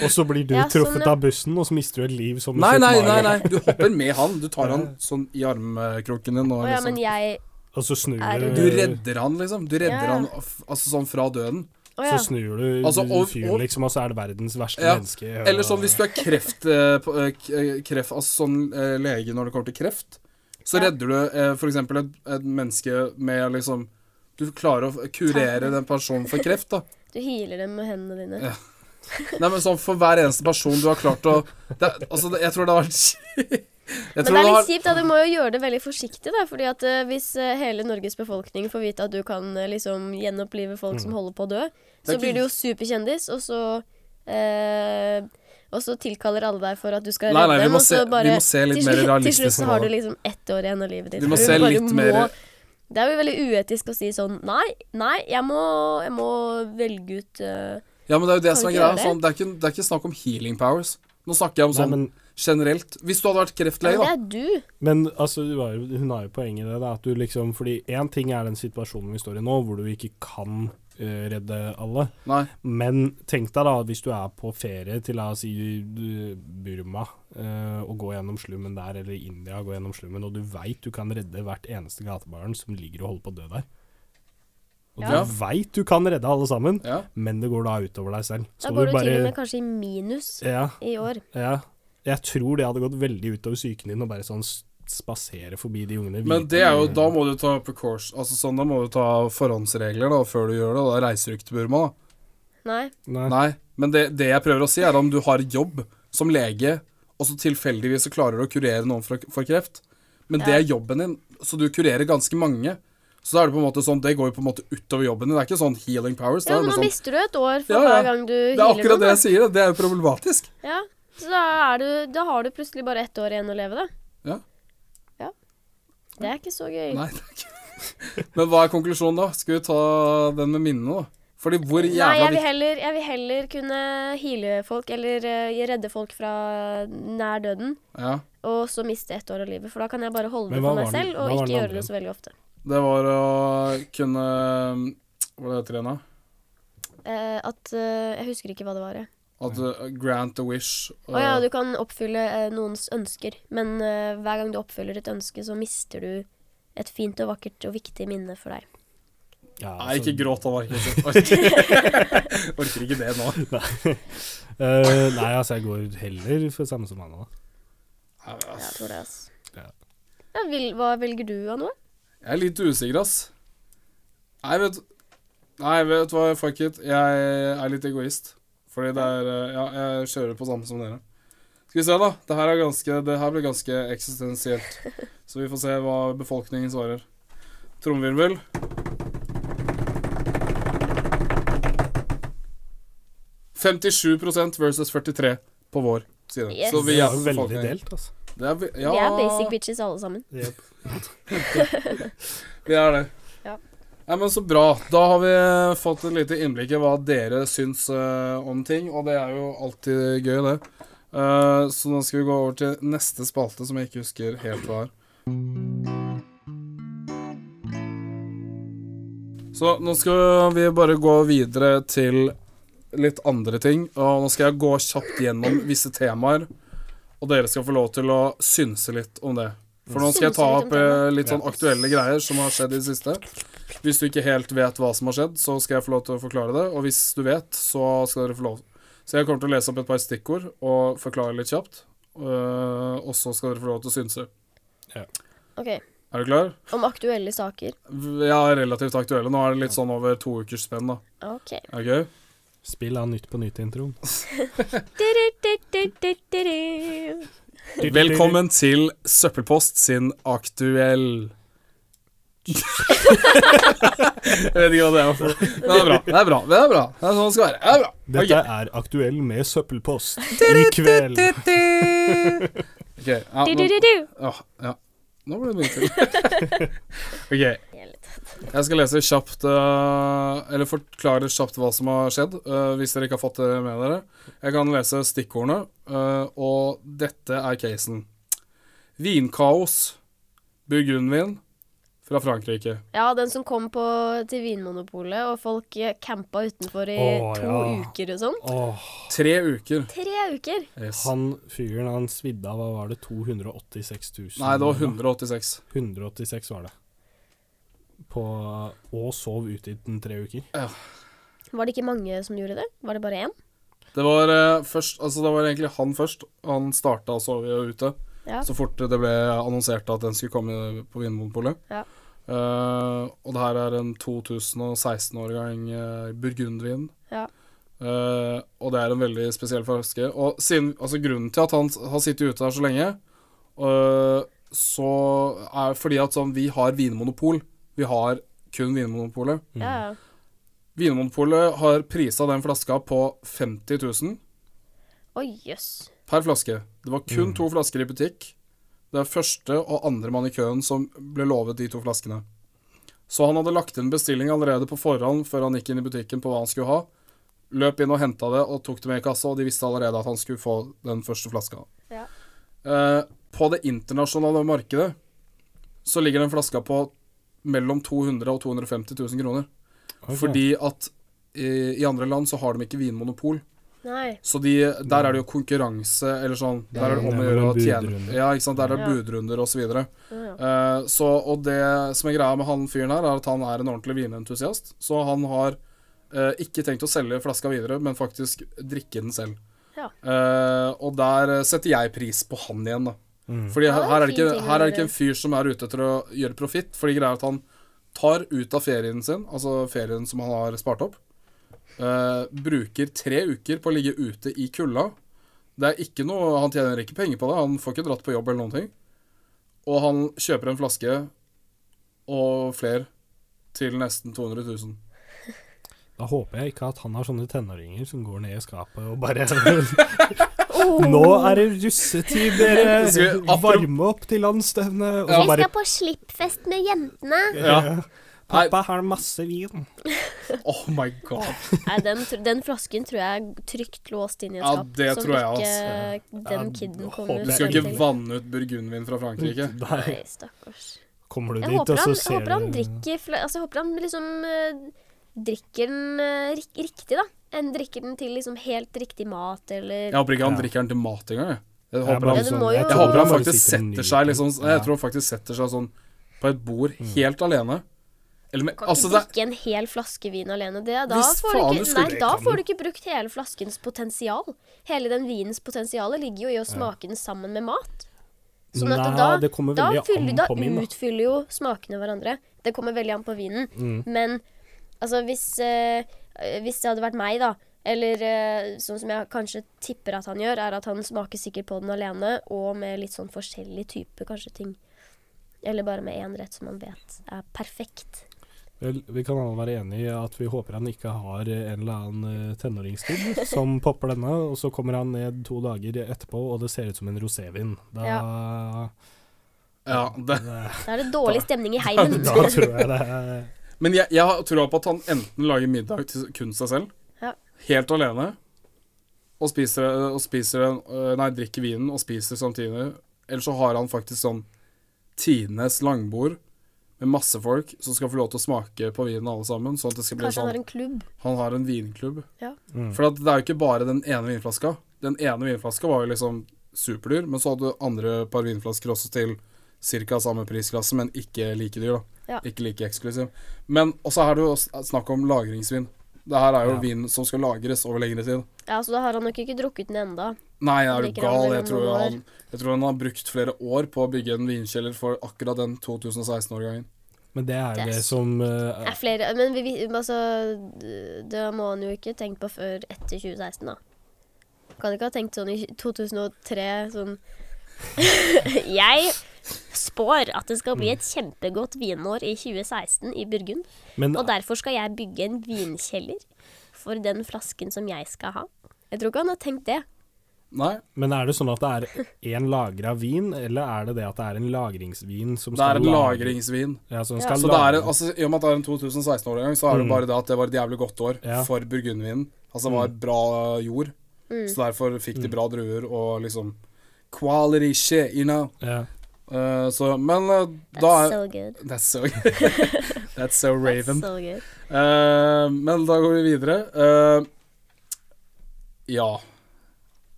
Og så blir du
Ja, sånn,
truffet
ja.
av bussen, og så mister du et liv som du
Nei,
kjøpte
nei, nei,
Mario.
nei, du hopper med han. Du
(laughs)
tar han sånn i armkroken din og
Å ja, men
liksom
jeg
Og så snur
Er
du
det-
Du redder han, liksom. Du redder
Ja.
han f- altså sånn fra døden.
Å ja.
Så snur du
Altså, og-
fyren,
og-
liksom, og så er det verdens verste
Ja,
menneske. og-
Eller sånn hvis du er kreft, eh, på, eh, k- eh, kreft Altså sånn eh, lege når det kommer til kreft, så
Ja.
redder du eh, for eksempel et, et menneske med liksom Du klarer å f- kurere den personen for kreft, da.
Du healer dem med hendene dine.
Ja. Nei, men sånn for hver eneste person du har klart å det, er- Altså, det, jeg tror det har vært (laughs) Jeg tror
Men det er
det
litt
har
kjipt, da. Du må jo gjøre det veldig forsiktig, da. Fordi at eh, hvis eh, hele Norges befolkning får vite at du kan eh, liksom gjenopplive folk som holder på å dø,
Mm. Det er
så
ikke-
blir du jo superkjendis, og så eh, og så tilkaller alle deg for at du skal
Nei, nei,
redde
vi
dem.
må
og så
se- vi
bare-
må se litt
til
mer
slutt-
realistisk
Til slutt
på
så har du
det.
liksom ett år igjen av livet ditt.
Vi må
Du
se
bare
litt mer-
Det er jo veldig uetisk å si sånn Nei, nei, jeg må, jeg må velge ut eh,
Ja, men det er jo det
Kan
som er
vi ikke
greia.
gjøre det?
Sånn, det, er ikke, det er ikke snakk om healing powers. Nå snakker jeg om
Nei,
sånn
men,
generelt. Hvis du hadde vært
Men
kreftlege,
det
da.
er du.
men altså, du har, jo- hun har jo poeng i det, da, at du liksom Fordi én ting er den situasjonen vi står i nå, hvor du ikke kan eh, redde alle.
Nei.
Men tenk deg da, hvis du er på ferie til la oss si du- Burma, eh, og går gjennom slummen der, eller India, går gjennom slummen, og du veit du kan redde hvert eneste gatebarn som ligger og holder på å dø der. Og
Ja.
du veit du kan redde alle sammen,
Ja.
men det går da utover deg selv.
Da
Skal
går du til og med kanskje i minus
Ja,
i år.
ja. Jeg tror det hadde gått veldig utover psyken din å bare sånn s- spasere forbi de ungene.
Men
Vite-
det er jo, da må du ta precaution Altså sånn, da må du ta forhåndsregler da før du gjør det. og Da reiser du ikke til Burma. da
Nei.
Nei.
Nei, men det, det jeg prøver å si, er om du har jobb som lege, og så tilfeldigvis så klarer du å kurere noen for, for kreft. Men det er jobben din, så du kurerer ganske mange. Så da er det på en måte sånn, det går jo på en måte utover jobben din. Det er ikke sånn healing powers.
Ja,
det, er
men nå
bare sånn,
mister du et år for
Ja, ja.
hver gang du
det er
healer
akkurat det
noen.
jeg sier. Det er jo problematisk.
da. Ja. Så da, er du, da har du plutselig bare ett år igjen å leve, da.
Ja.
Ja. Det er ikke så gøy.
Nei, det er ikke (laughs) Men hva er konklusjonen, da? Skal vi ta den med minnene, da? Fordi hvor
Nei,
jævla
jeg vil,
viktig
heller, jeg vil heller kunne heale folk, eller eh, redde folk fra nær døden,
ja,
og så miste ett år av livet. For da kan jeg bare holde
Men
det
hva
for meg
var den-
selv,
hva
og
var
ikke
den
gjøre
andre?
det så veldig ofte.
Det var å kunne Hva heter det igjen, da?
Eh, at eh, Jeg husker ikke hva det var, jeg.
At uh, grant a wish.
Å ja, du kan oppfylle eh, noens ønsker, men eh, hver gang du oppfyller et ønske, så mister du et fint og vakkert og viktig minne for deg.
Ja,
Nei,
altså,
ikke gråt av orker, orker. orker ikke det nå.
eh, nei, altså, jeg går heller for samme som han da.
Jeg tror det, ass.
Ja.
Ja, vil, hva velger du av noe?
Jeg er litt usikker, ass. Nei, vet Nei, vet du hva, fuck it. Jeg er litt egoist. Fordi det er eh, Ja, jeg kjører på samme som dere. Skal vi se, da. Det her, er ganske, det her blir ganske eksistensielt. Så vi får se hva befolkningen svarer. Trommevirvel. versus 43 på vår side.
Yes.
Så
Det
vi
er
er
jo veldig
befolkningen.
delt, altså.
Det er, vi- ja,
Vi er basic bitches alle sammen.
Vi er det.
Ja.
Nei, men Så bra. Da har vi eh, fått et lite innblikk i hva dere syns eh, om ting, og det er jo alltid gøy, det. Eh, så nå skal vi gå over til neste spalte, som jeg ikke husker helt hva er. Så nå skal vi bare gå videre til litt andre ting. Og nå skal jeg gå kjapt gjennom visse temaer, og dere skal få lov til å synse litt om det. For nå skal jeg ta
Synse litt om
opp eh, litt sånn aktuelle greier som har skjedd i det siste. Hvis du ikke helt vet hva som har skjedd, så skal jeg få lov til å forklare det. Og hvis du vet, så skal dere få lov. Så jeg kommer til å lese opp et par stikkord og forklare litt kjapt. eh, og så skal dere få lov til å synse.
Ok,
Er du klar?
Om aktuelle saker.
V- Ja, relativt aktuelle. Nå er det litt sånn over to ukers spenn, da.
Ok.
Er det gøy?
Spill av Nytt på Nytt-introen.
Du-du-du-du-du-du.
(laughs) Velkommen til Søppelpost sin aktuell (laughs) Jeg vet ikke hva det er for Men Det er bra. Det er bra. Det er bra. Det er sånn det skal være. Det er bra.
Dette
Ok.
er aktuell med søppelpost i kveld.
Ok, ja, nå,
Du-du-du-du.
ja, ja. nå ble det mye til. (laughs) OK. Jeg skal lese kjapt eh, Eller forklare kjapt hva som har skjedd, eh, hvis dere ikke har fått det med dere. Jeg kan lese stikkordene, eh, og dette er casen. Vinkaos. Burgundvin fra Frankrike.
Ja, den som kom på, til Vinmonopolet, og folk eh, campa utenfor i
Å,
to
ja.
uker og sånn.
Åh,
Tre uker.
Tre uker!
Yes.
han fyren han svidde av, hva var det, 286 000?
Nei, det var 186.
186 var det. På, og sov ute i den tre uker.
Var det ikke mange som gjorde det? Var det bare én?
Det var eh, først Altså, det var egentlig han først. Han starta å sove ute
Ja.
så fort det ble annonsert at den skulle komme på Vinmonopolet.
Ja.
Eh, og det her er en 2016-årgang uh, burgundvin.
Ja.
Eh, og det er en veldig spesiell flaske. Og siden, altså, grunnen til at han s- har sittet ute her så lenge, eh, så er fordi at sånn, vi har vinmonopol. Vi har kun Vinmonopolet.
ja. ja.
Vinmonopolet har prisa den flaska på 50 000.
Å, jøss.
Per flaske. Det var kun to flasker i butikk. Det er første og andre mann i køen som ble lovet de to flaskene. Så han hadde lagt inn bestilling allerede på forhånd før han gikk inn i butikken på hva han skulle ha. Løp inn og henta det og tok det med i kassa, og de visste allerede at han skulle få den første flaska.
Ja.
Eh, på det internasjonale markedet så ligger den flaska på mellom 200 000 og 250 000 kroner.
Ok.
Fordi at i, i andre land så har de ikke vinmonopol.
Nei.
Så de, der er det jo konkurranse, eller sånn Der er det om å
Det er
gjøre å
vel
tjene.
budrunde.
Ja, ikke sant. Der er det
Ja.
budrunder og så videre.
Å ja.
Eh, så, og det som er greia med han fyren her, er at han er en ordentlig vinentusiast. Så han har eh, ikke tenkt å selge flaska videre, men faktisk drikke den selv.
Ja.
Eh, og der eh, setter jeg pris på han igjen, da. Fordi
Ja, det
her,
er
her, er
en
det
fin
ikke,
ting å
her er det
gjøre.
ikke en fyr som er ute etter å gjøre profitt. Fordi greia er at han tar ut av ferien sin, altså ferien som han har spart opp, eh, bruker tre uker på å ligge ute i kulda. Det er ikke noe, Han tjener ikke penger på det, han får ikke dratt på jobb eller noen ting. Og han kjøper en flaske og flere til nesten 200 000.
Da håper jeg ikke at han har sånne tenåringer som går ned i skapet og
(laughs)
bare
Oh,
Nå er det russetid, dere!
Skal vi-
Varme opp til landsstevnet! Og så
Ja.
Jeg
bare
skal på slippfest med jentene.
Ja.
Pappa har masse vin.
Oh my god.
Nei, den, tr- den flasken tror jeg er trygt låst inn i et
Ja,
skap.
det
som
tror jeg,
ikke
ass.
den
Ja,
kiden
håper
kommer
Du skal ikke vanne ut burgundvin fra
(laughs)
Frankrike.
Nei.
Nei, stakkars.
Kommer du
Jeg
dit, og
håper han,
så
jeg
ser
håper han
du
drikker fla- Altså, jeg håper han liksom eh, drikker den eh, rik riktig, da. En drikker den til liksom helt riktig mat, eller
Jeg håper ikke han
Ja.
drikker den til mat engang. jeg. Jeg
altså, Jeg
håper han
bare
Ja, du må jo-
Jeg
tror
håper han
bare
faktisk
sitter og
setter seg
nyter.
liksom,
Ja. Mm.
Jeg tror han faktisk setter seg sånn på et bord helt alene. Eller med
Kan
Altså,
ikke
det
drikke en hel flaske vin alene. Det, da,
Hvis
får
faen du
du ikke,
skulle-
nei,
det
da
kan
får du ikke brukt hele flaskens potensial. Hele den vinens potensial ligger jo i å smake den sammen med mat. Sånn at
Nei,
da,
det kommer
da,
veldig
fyller,
an
da
på min, da.
utfyller jo smakene hverandre. Det kommer veldig an på vinen.
Mm.
Men altså, hvis, eh, hvis det hadde vært meg, da, eller eh, sånn som jeg kanskje tipper at han gjør, er at han smaker sikkert på den alene, og med litt sånn forskjellig type kanskje ting. Eller bare med én rett som man vet er perfekt.
Vel, vi kan alle være enige i at vi håper han ikke har eh, en eller annen eh, tenåringskid (laughs) som popper denne, og så kommer han ned to dager etterpå, og det ser ut som en rosévin. Da,
Ja, det.
Da er det dårlig stemning i (laughs) heimen.
da tror jeg det er
Men jeg, jeg har troa på at han enten lager middag til kun seg selv,
Ja.
helt alene, og spiser, og spiser øh, Nei, drikker vinen og spiser samtidig. Eller så har han faktisk sånn tidenes langbord med masse folk som skal få lov til å smake på vinen alle sammen. Sånn at det skal bli
Kanskje han
sånn
har en klubb.
Han har en vinklubb.
Ja.
Mm.
For at det er jo ikke bare den ene vinflaska. Den ene vinflaska var jo liksom superdyr, men så hadde du andre par vinflasker også til ca. samme prisklasse, men ikke like dyr, da.
Ja.
Ikke like eksklusiv. Men også er det jo s- snakk om lagringsvin. Det her er jo
Ja.
vin som skal lagres over lengre tid.
Ja, Så da har han nok ikke drukket den enda.
Nei, er du
Drikker han
gal?
vel
Jeg
om
tror,
noen år?
han, jeg tror han har brukt flere år på å bygge en vinkjeller for akkurat den 2016-årgangen.
Men det er
Det
jo
er
det som eh,
Det er flere, men vi, vi, altså, det- det må han jo ikke tenkt på før etter 2016, da. Kan ikke ha tenkt sånn i 2003, sånn (laughs) Jeg spår at det skal bli et kjempegodt vinår i 2016 i Burgund,
Men
og derfor skal jeg bygge en vinkjeller for den flasken som jeg skal ha. Jeg tror ikke han har tenkt det.
Nei,
Men er det sånn at det er én lagra vin, eller er det det at det er en lagringsvin som
det er
skal
en
lagre-
lagringsvin.
Ja, som
Ja.
skal
Så det er
lagre-
en, altså, I og med at det er en 2016-årgang, så er det bare det at det var et jævlig godt år
Ja.
for burgundvinen. Altså det var bra jord,
Mm.
så derfor fikk de bra druer og liksom Quality shit, you know.
ja.
Eh, så, men eh, da
That's
er
so good.
(laughs) That's so
(laughs)
That's so raven.
So good.
Eh, men da går vi videre. Eh, ja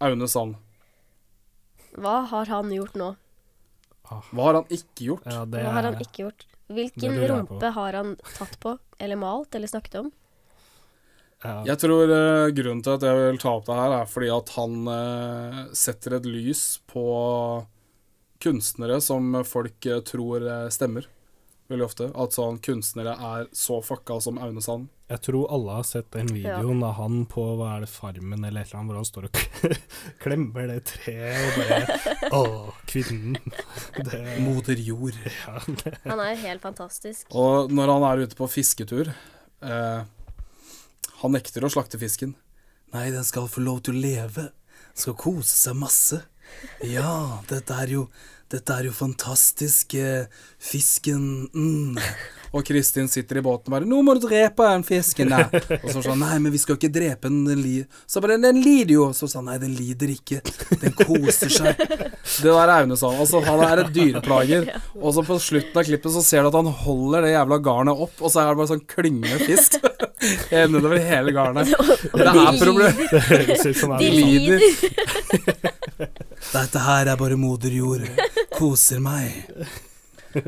Aune Sand.
Hva har han gjort nå?
Hva har han ikke gjort?
ja, det
Hva har han
er
ikke gjort? Hvilken
lurer jeg på.
rumpe har han tatt på, eller malt, eller snakket om?
ja.
Jeg tror eh, grunnen til at jeg vil ta opp det her, er fordi at han eh, setter et lys på kunstnere som folk eh, tror eh, stemmer, veldig ofte. At sånn kunstnere er så fucka som Aune Sand.
Jeg tror alle har sett den videoen av han på hva er det, Farmen eller et eller annet, hvor han står og (laughs) klemmer det treet og bare Å, kvinnen. Det,
Moder jord.
ja, det.
Han er jo helt fantastisk.
Og når han er ute på fisketur eh, Han nekter å slakte fisken. Nei, den skal få lov til å leve. Den skal kose seg masse. Ja, dette er jo, dette er jo fantastisk. eh, Fisken mm. Og Kristin sitter i båten bare 'Nå må du drepe den fisken der.' (laughs) Og så sånn 'Nei, men vi skal ikke drepe den.' den li så bare 'Den lider jo.' Så sa han 'Nei, den lider ikke. Den koser seg.' Det der er Aune sånn. Altså, han er et dyreplager. Og (laughs) så på slutten av klippet så ser du at han holder det jævla garnet opp, og så er det bare sånn klyngende fisk. Ene over hele garnet.
Og
(laughs) Det
de
er problem.
lider.
Det høres ut som
De
det er sånn.
lider.
lider.
Dette her er bare moder jord. Koser meg.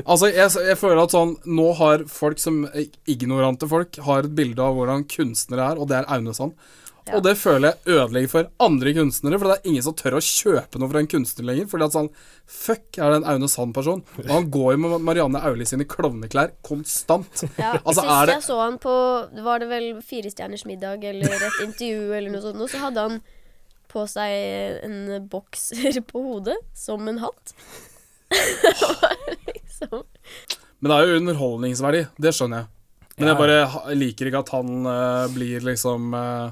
Altså, jeg, jeg føler at sånn Nå har folk som eh, ignorante folk Har et bilde av hvordan kunstnere er, og det er Aune Sand.
Ja.
Og det føler jeg ødelegger for andre kunstnere, for det er ingen som tør å kjøpe noe fra en kunstner lenger. Fordi at sånn Fuck, er det en Aune Sand-person? Og han går jo med Marianne Aulie sine klovneklær konstant.
Ja,
(laughs) Altså,
Sist
er det
jeg så han på Var det vel Fire stjerners middag eller et intervju eller noe sånt, og så hadde han på seg en bokser (laughs) på hodet som en hatt. Det var liksom
Men det er jo underholdningsverdi, det skjønner jeg. Men jeg bare ha- liker ikke at han eh, blir liksom eh,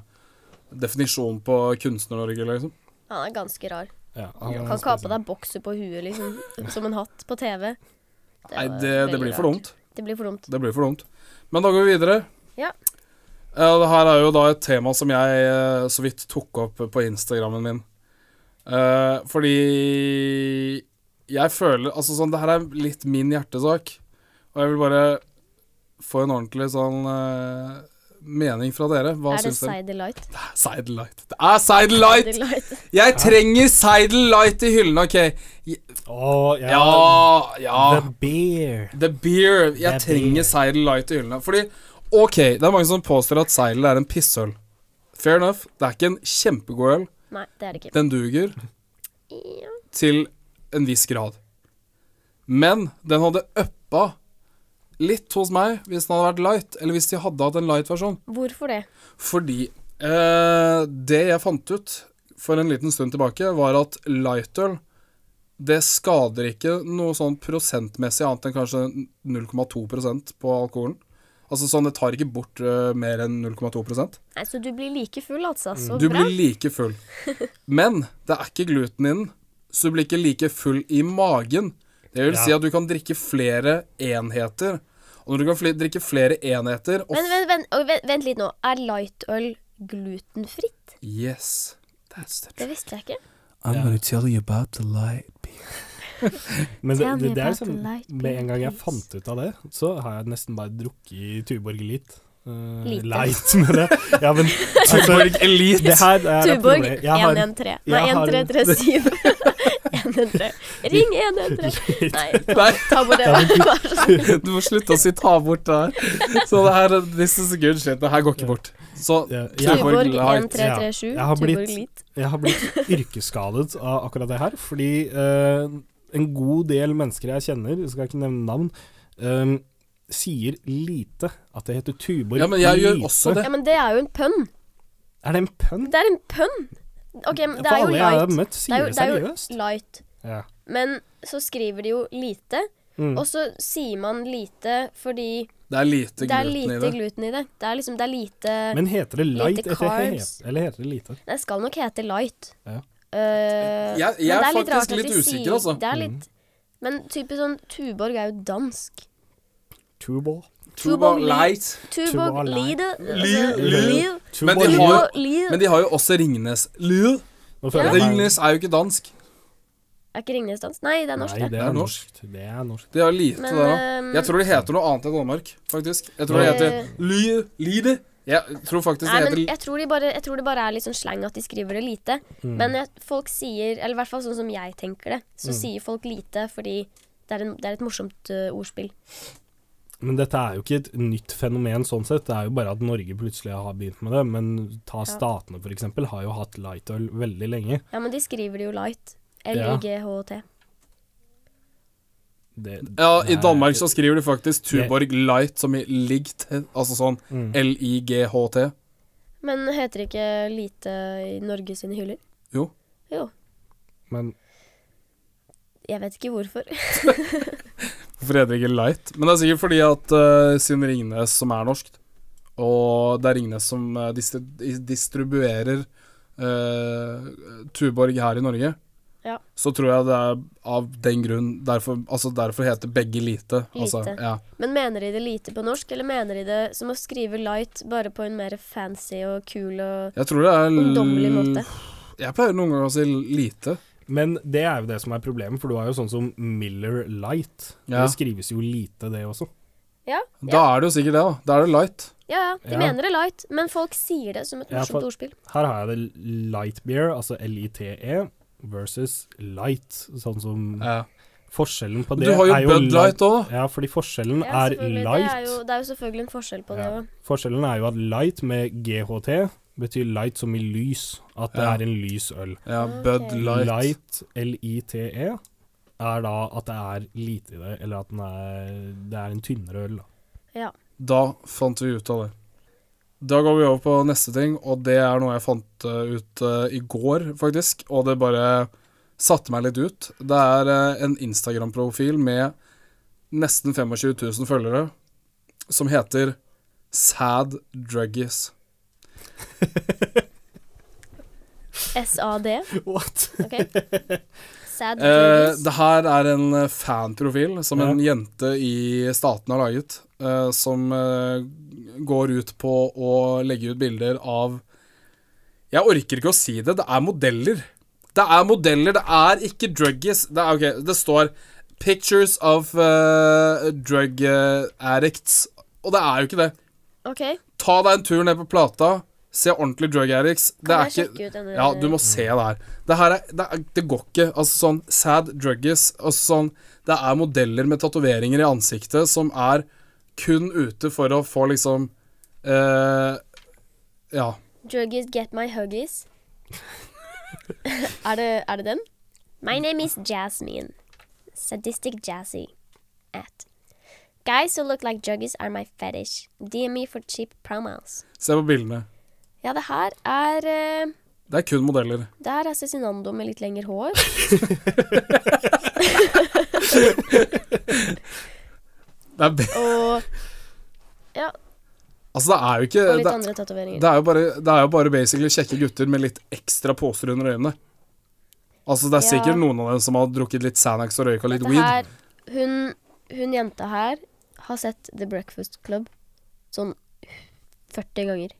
definisjonen på Kunstner-Norge, liksom.
Han er ganske rar.
Ja, han er sånn.
Kan ikke ha på
spesiell.
deg bokser på huet, liksom. Som en hatt på TV. Det
Nei,
var
det, det
veldig
blir for
rart.
dumt.
Det blir for dumt.
Det blir for dumt. Men da går vi videre.
Ja.
Eh, det her er jo da et tema som jeg eh, så vidt tok opp på Instagrammen min. Eh, fordi jeg føler Altså sånn, det her er litt min hjertesak. Og jeg vil bare få en ordentlig sånn eh, mening fra dere. Hva
er det
syns dere?
Seidel Light?
Seidel Light. Det er Seidel Light!
Seidel Light.
Jeg trenger Seidel Light i hyllene, OK?
Å, ja.
Ja, ja.
The beer.
The Beer. Jeg
The
trenger
Beer.
Seidel Light i hyllene. Fordi, OK, det er mange som påstår at Seidel er en pissøl. Fair enough. Det er ikke en kjempegod øl.
Nei, det er det ikke.
Den duger
Ja.
til en viss grad. Men den hadde uppa litt hos meg hvis den hadde vært light, eller hvis de hadde hatt en light-versjon.
Hvorfor det?
Fordi eh, det jeg fant ut for en liten stund tilbake, var at lightøl det skader ikke noe sånn prosentmessig annet enn kanskje 0,2 på alkoholen. Altså sånn, det tar ikke bort eh, mer enn 0,2
Nei, Så du blir like full, altså?
Mm.
Så
Du
bra.
blir like
(laughs)
full. Men det er ikke gluten i den, så du blir ikke like full i magen. Det vil
Ja.
si at du kan drikke flere enheter. Og når du kan fli- drikke flere enheter og
Men vent, vent, og vent, vent litt nå. Er lightøl glutenfritt?
Yes. That's the
Det visste jeg ikke.
I'm gonna tell you about the light
Men det,
Tell me
det, det er
about
sånn
the light
Med en gang jeg
beer,
fant ut av det, så har jeg nesten bare drukket Tuborg Elite. Uh,
Lite.
Light (laughs) med det. Ja,
(laughs)
men altså,
Tuborg Elite.
Det her er et
Tuborg
problem. Jeg har
113. Nei,
jeg
(laughs)
har-
1337. 113. Ring
(laughs)
113. Nei,
Nei.
ta bort det. Vær så snill.
Du må slutte å si 'ta bort' det her. Så det her This is good shit. Det her går ikke bort. Så
Ja, jeg,
Tuborg
Tuborg
Light.
1337.
Ja, jeg har
Tuborg
blitt-
Litt.
jeg har blitt yrkesskadet av akkurat det her, fordi eh, en god del mennesker jeg kjenner, jeg skal ikke nevne navn, eh, sier lite at det heter Tuborg
Ja, men jeg gjør
Elite.
også det.
Ja, men det er jo en pønn.
Er det en pønn?
Det er en pønn. OK, men det
For
er jo
alle jeg har
light.
møtt,
Det er
sier
jo,
det
det er jo
seriøst.
light.
Ja.
Men så skriver de jo lite,
Mm.
og så sier man lite fordi
Det er lite
det er
gluten i
lite
det.
gluten i det. Det er liksom det er lite
Men heter det light
Lite
etter he
carbs.
eller heter det lite?
Det skal nok hete light.
Ja.
Eh,
Jeg- jeg
men
er
det litt
faktisk
rart at
litt
de
usikker,
sier-
altså.
Mm.
Det er litt, men typisk sånn Tuborg er jo dansk.
Tuborg.
Tuborg Light.
Tuborg altså,
Tuborg Light.
Lido
Lido. Lido. Men de
Tuborg.
har jo-
Lido.
Men de har jo også Ringnes. Lue.
Nå føler jeg meg-
Ringnes er jo ikke dansk.
Er ikke Ringnes dans? Nei, det er norsk,
Nei,
det.
det er norsk. Det er norsk.
De har lite
Men,
der òg.
ehm,
Jeg tror det heter noe annet i Danmark, faktisk. Jeg tror det
Eh.
heter Lue. Lide. Jeg tror faktisk
Nei,
det
men
heter
jeg tror, de bare, jeg tror det bare er litt sånn slang at de skriver det lite.
Mm.
Men jeg, folk sier, eller i hvert fall sånn som jeg tenker det, så sier folk lite fordi det er, en, det er et morsomt eh, ordspill.
Men dette er jo ikke et nytt fenomen sånn sett, det er jo bare at Norge plutselig har begynt med det. Men ta statene for eksempel, har jo hatt lightøl veldig lenge.
Ja, men de skriver det jo light.
Ja.
L-I-G-H-T.
Det,
Ja, i
det er-
Danmark så skriver de faktisk Tuborg Light som i ligt, altså sånn
Mm.
L-I-G-H-T.
Men heter det ikke lite i Norge sine hyller?
Jo.
Jo.
Men
Jeg vet ikke hvorfor. (laughs)
Hvorfor heter det ikke Light? Men det er sikkert fordi at eh, siden Ringnes som er norsk, og det er Ringnes som eh, distri i- distribuerer eh, Tuborg her i Norge,
Ja.
så tror jeg det er av den grunn Derfor, altså derfor heter begge lite. Altså,
Lite.
ja.
Men mener de det lite på norsk, eller mener de det som å skrive light bare på en mer fancy og kul og
Jeg tror det er l-
ungdommelig måte?
Jeg pleier noen ganger å si lite.
Men det er jo det som er problemet, for du har jo sånn som Miller Light.
Ja.
Det skrives jo lite, det også.
Ja,
Da er det jo sikkert det, da. Da er det light.
ja, ja. De
Ja.
mener det light, men folk sier det som et
Ja,
morsomt
for-
ordspill.
Her har jeg det light beer, altså L-I-T-E, versus light. Sånn som Forskjellen på
Men
det
Du har jo
er jo
Bud Light òg, da.
Ja, fordi forskjellen
Ja,
er
selvfølgelig. Det er,
light.
jo, det er jo selvfølgelig en forskjell på det
Ja.
òg.
Forskjellen er jo at light med GHT betyr light som i lys. At det
Ja.
er en lys øl.
Ja, Bud
Ah, Ok.
Light.
Light, L-I-T-E, E, er da at det er lite i det, eller at den er, det er en tynnere øl. Da.
Da fant vi ut av det. Da går vi over på neste ting, og det er noe jeg fant eh, ut eh, i går, faktisk. Og det bare satte meg litt ut. Det er eh, en Instagram-profil med nesten 25 000 følgere som heter Sad Druggies.
SAD.
What?
Ok.
(laughs)
Sad
Eh,
Druggies.
det her er en eh, fanprofil som
Ja.
en jente i staten har laget, eh, som eh, går ut på å legge ut bilder av Jeg orker ikke å si det, det er modeller. Det er modeller, det er ikke druggies. Det, er, ok, det står 'Pictures of eh, drug eh, addicts', og det er jo ikke det.
Ok,
Ta deg en tur ned på Plata, se ordentlig drug addicts. Det
kan
er
jeg
ikke
sjekke ut denne?
ja, du må se det her. Det her er, det, er, det går ikke. Altså sånn sad druggies. Altså sånn Det er modeller med tatoveringer i ansiktet som er kun ute for å få liksom eh, Ja.
Druggies get my huggies. er, det, er det den?
My name is Jasmine.
Sadistic Jazzy at Guys who look like druggies are my fetish. DM me for cheap promos.
Se på bildene.
Ja, det her er eh,
Det er kun modeller.
Det her er Cezinando med litt lengre hår.
Det er, be- (laughs)
Og, ja,
altså, det er jo ikke
og litt
det,
andre tatoveringer.
det, er jo bare, det er jo bare basically kjekke gutter med litt ekstra poser under øynene. Altså, det er
Ja.
sikkert noen av dem som har drukket litt Xanax og røyka litt
Dette
weed.
her, hun, hun jenta her har sett The Breakfast Club sånn 40 ganger.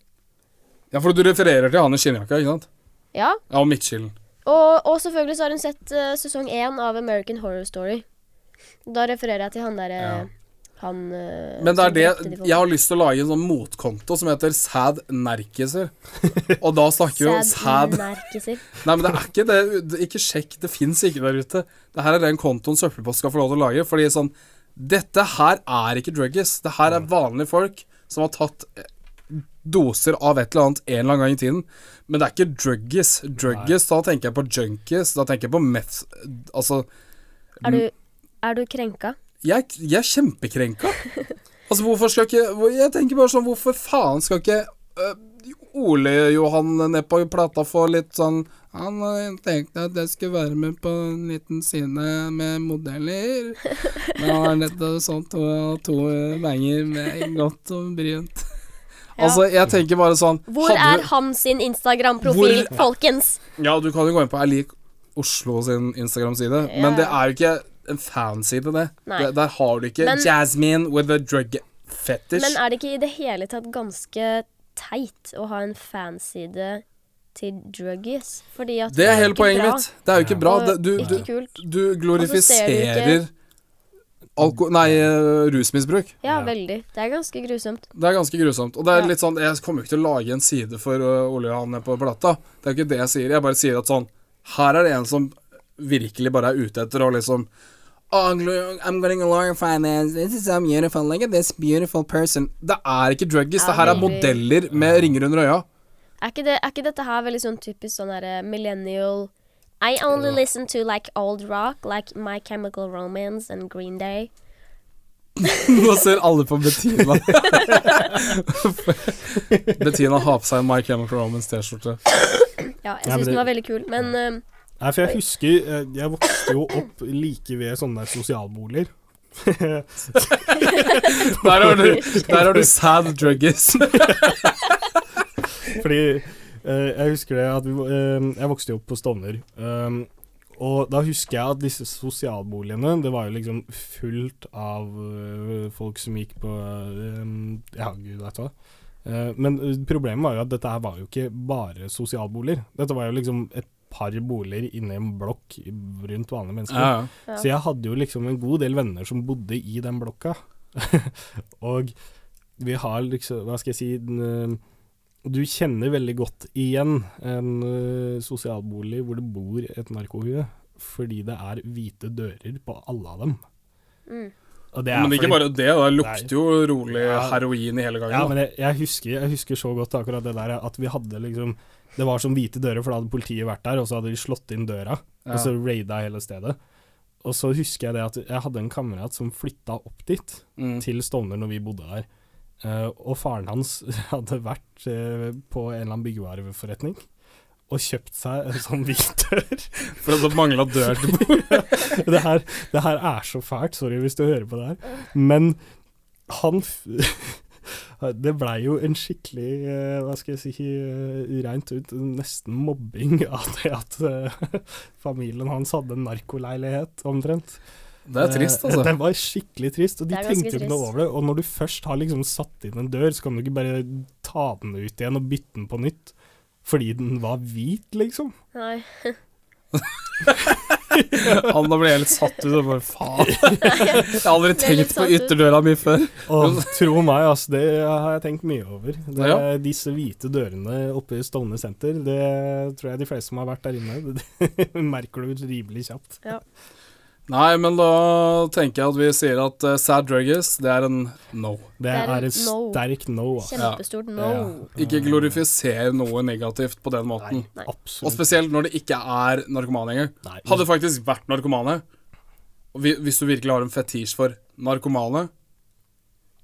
Ja, for du refererer til han i skinnjakka, ikke sant?
Ja,
Ja, og midtskillen.
og, og selvfølgelig så har hun sett eh, sesong 1 av American Horror Story. Da refererer jeg til han derre
Ja.
Han eh,
Men det
som
er det
drepte de folkene.
Jeg har lyst til å lage en sånn motkonto som heter Sad Nerkiser. Og da snakker vi om
Sad
sad
nerkiser.
Nei, men det er ikke det. det- Ikke sjekk. Det fins ikke der ute. Det her er den kontoen Søppelpost skal få lov til å lage. Fordi sånn Dette her er ikke druggies. Det her er vanlige folk som har tatt eh, doser av et eller annet en eller annen gang i tiden. Men det er ikke druggies. Druggies, da tenker jeg på junkies. Da tenker jeg på meth Altså
Er du, er du krenka?
jeg, jeg er kjempekrenka. Altså, hvorfor skal ikke hvor- Jeg tenker bare sånn, hvorfor faen skal ikke øh, Ole Johan ned på plata få litt sånn Han øh, tenkte at jeg skulle være med på en liten side med modeller. Men han har nettopp sånn to, to banger med godt og brynt. Altså, jeg tenker bare sånn
Hvor
hadde-
er han sin Instagram-profil,
Hvor-
folkens?
ja, du kan jo gå inn på Jeg lik Oslo sin Instagram-side,
Ja,
men det
ja.
er jo ikke en fanside, det.
Nei.
Der, der har du ikke
Men-
Jasmine with a drug fetish.
Men er det ikke i det hele tatt ganske teit å ha en fanside til druggies? Fordi at
det er hele
ikke
poenget
bra,
mitt. Det er jo ikke bra.
og
Det, du,
ikke
du,
kult.
du glorifiserer
ikke-
alko... Nei, eh, rusmisbruk.
Ja,
Ja.
veldig. Det er ganske grusomt.
Det er ganske grusomt. Og det er
Ja.
litt sånn Jeg kommer jo ikke til å lage en side for øh, Ole Johan nede på plata. Det er jo ikke det jeg sier. Jeg bare sier at sånn Her er det en som virkelig bare er ute etter å liksom I'm gl- I'm getting along finance. This is so beautiful. Look at this beautiful person. Det er ikke druggies.
Ja,
Det her er
veldig.
modeller med ringer under øya.
Er ikke, det, er ikke dette her veldig sånn typisk sånn derre millennial I only listen to like old rock, like My Chemical Romance and Green Day.
Nå ser alle på Bettina. (laughs) Bettina har på seg en My Chemical Romance-T-skjorte.
Ja, jeg
Ja, men
syns den
det-
var veldig kul, men eh,
Nei, for jeg husker eh, Jeg vokste jo opp like ved sånne der sosialboliger. (laughs)
Der har du, der har du sad druggies.
(laughs) Fordi eh, jeg husker det at vi, eh, jeg vokste jo opp på Stovner. eh, og da husker jeg at disse sosialboligene, det var jo liksom fullt av eh, folk som gikk på eh, Ja, gud vet hva. Eh, men eh, problemet var jo at dette her var jo ikke bare sosialboliger. Dette var jo liksom et par boliger inni en blokk rundt vanlige mennesker.
Ja, ja.
Ja.
Så jeg hadde jo liksom en god del venner som bodde i den blokka. (laughs) og vi har liksom Hva skal jeg si den, eh, Du kjenner veldig godt igjen en eh, sosialbolig hvor det bor et narkohue, fordi det er hvite dører på alle av dem.
Mm.
Og det er
Men ikke
fordi-
bare det, det lukter jo rolig
Ja.
heroin i hele gangen.
Ja,
da.
men jeg, jeg, husker, jeg husker så godt akkurat det der at vi hadde liksom Det var som hvite dører, for da hadde politiet vært der, og så hadde de slått inn døra, og så
ja.
raida hele stedet. Og så husker jeg det at jeg hadde en kamerat som flytta opp dit,
Mm.
til Stovner når vi bodde der. Eh, og faren hans (laughs) hadde vært eh, på en eller annen byggevareforretning og kjøpt seg en sånn hvit dør.
(laughs) For at det mangla dør til
(laughs) det, her, det her er så fælt, sorry hvis du hører på det her. Men han f- (laughs) Det blei jo en skikkelig, eh, hva skal jeg si, eh, rent ut nesten mobbing av det at eh, (laughs) familien hans hadde en narkoleilighet, omtrent.
(laughs) Det er trist,
Eh,
altså.
(laughs) Det var skikkelig trist, og de
Det er ganske
tenkte ikke noe
trist.
over det. Og når du først har liksom satt inn en dør, så kan du ikke bare ta den ut igjen og bytte den på nytt. Fordi den var hvit, liksom.
Nei.
(laughs) Anna ble helt satt ut. Og bare, faen. (laughs) Jeg har aldri
Ble litt
tenkt på
satt ut.
ytterdøra mi før. (laughs)
Og tro meg, altså, det har jeg tenkt mye over. Det,
Ja.
Disse hvite dørene oppe i Stovner senter, det tror jeg de fleste som har vært der inne, (laughs) det, det merker du rimelig kjapt.
Nei, men da tenker jeg at vi sier at eh, sad druggies, det er en no.
Det
er en
er et
no.
sterkt no. altså.
Kjempestort no.
Ikke glorifiser noe negativt på den måten.
Nei.
Og
Absolutt.
spesielt når det ikke er narkomane engang.
Nei.
Hadde det faktisk vært narkomane, og vi- hvis du virkelig har en fetisj for narkomane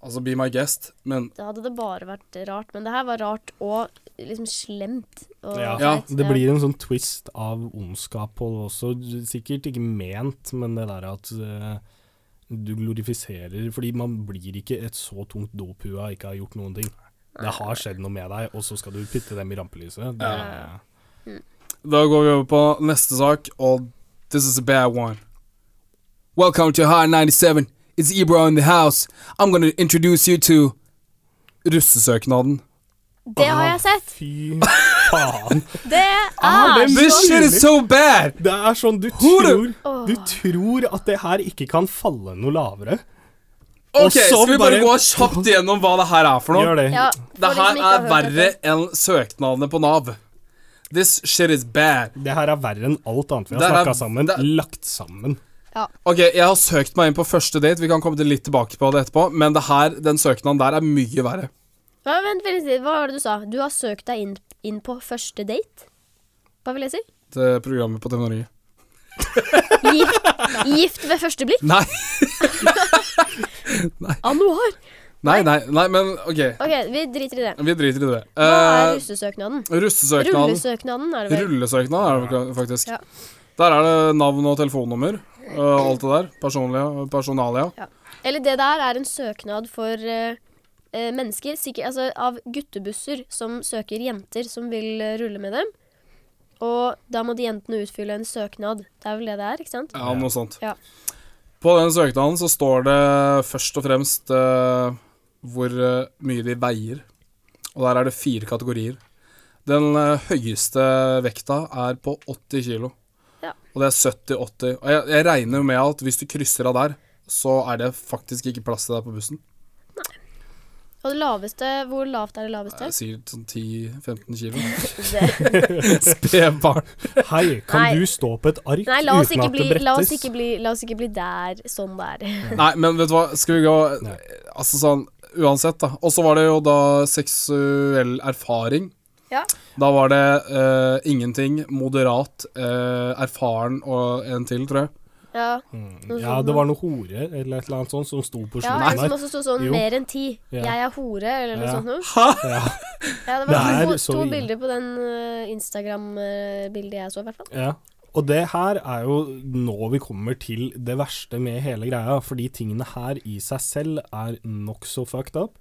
Altså, be my guest, men
Da hadde det bare vært rart. Men det her var rart og liksom slemt. Og
Ja.
Ja,
feit.
Det blir en sånn twist av ondskap og også sikkert ikke ment, men det der at eh, du glorifiserer Fordi man blir ikke et så tungt dophue av ikke å ha gjort noen ting. Det har skjedd noe med deg, og så skal du putte dem i rampelyset. Det,
Ja.
Da går vi over på neste sak, og this is a bad one. Welcome to High 97. It's Ibra in the house. I'm gonna introduce you to Russesøknaden.
Det har jeg sett!
Fy faen.
Det er
Ah, det blir-
så
This shit is so bad!
Det er sånn du tror,
Hore!
du tror at det her ikke kan falle noe lavere. Og
Ok,
så
Skal vi bare
bare-
gå kjapt gjennom hva det her er for noe?
Gjør det.
ja,
Det
for de som
her
ikke har
er
hørt
verre
dette.
enn søknadene på Nav. This shit is bad.
Det her er verre enn alt annet vi har
Det her er-
snakka sammen.
det er-
Lagt sammen.
Ok, Jeg har søkt meg inn på første date, vi kan komme til litt tilbake på det etterpå, men det her, den søknaden der er mye verre.
Ja, vent, vent, litt. hva var det du sa? Du har søkt deg inn, inn på første date? Hva vil jeg si?
Det programmet på TV Norge.
Gift, gift ved første blikk?
Nei,
Annoar!
nei, nei, nei, men ok.
Ok, vi driter i det.
Vi driter i det.
Hva er
Eh,
russesøknaden?
russesøknaden.
Rullesøknaden er det vel?
Rullesøknad er det fak- faktisk.
Ja.
Der er det navn og telefonnummer. eh, alt det der. Personlige, personalia.
Eller det der er en søknad for eh, eh, mennesker, sikkert, altså av guttebusser som søker jenter som vil eh, rulle med dem. Og da må de jentene utfylle en søknad. Det er vel det det er, ikke sant?
Ja, noe sånt.
Ja.
På den søknaden så står det først og fremst eh, hvor eh, mye de veier. Og der er det fire kategorier. Den eh, høyeste vekta er på 80 kilo.
Ja.
Og det er 70-80. Og jeg, jeg regner jo med at hvis du krysser av der, så er det faktisk ikke plass til deg på bussen.
Og det laveste, hvor lavt er det
Det
laveste?
er sikkert sånn 10-15
(laughs)
kilo.
Det.
Spedbarn.
Hei, kan
Nei.
du stå på et ark
(laughs) Nei, la oss,
uten
ikke
at
bli,
det brettes?
la, oss ikke bli, la oss ikke bli der sånn der.
(laughs) Nei, men vet du hva, skal vi gå
Nei.
Altså sånn, uansett da Og så var det jo da seksuell erfaring
Ja.
Da var det eh, ingenting, moderat, eh, erfaren og en til, tror jeg
Ja, sånn
Mm, Ja, det var noen hore eller et eller annet sånt som sto på
ja
slutten
en som
der.
også sto sånn
Jo.
mer enn ti.
Ja.
Jeg er hore, eller noe
Ja.
sånt noe.
Hæ?
Ja, det
Det
var
er
to,
så
to
ille.
bilder på den eh, Instagram-bildet jeg så, i hvert fall.
Ja. Og det her er jo nå vi kommer til det verste med hele greia, fordi tingene her i seg selv er nokså fucked up.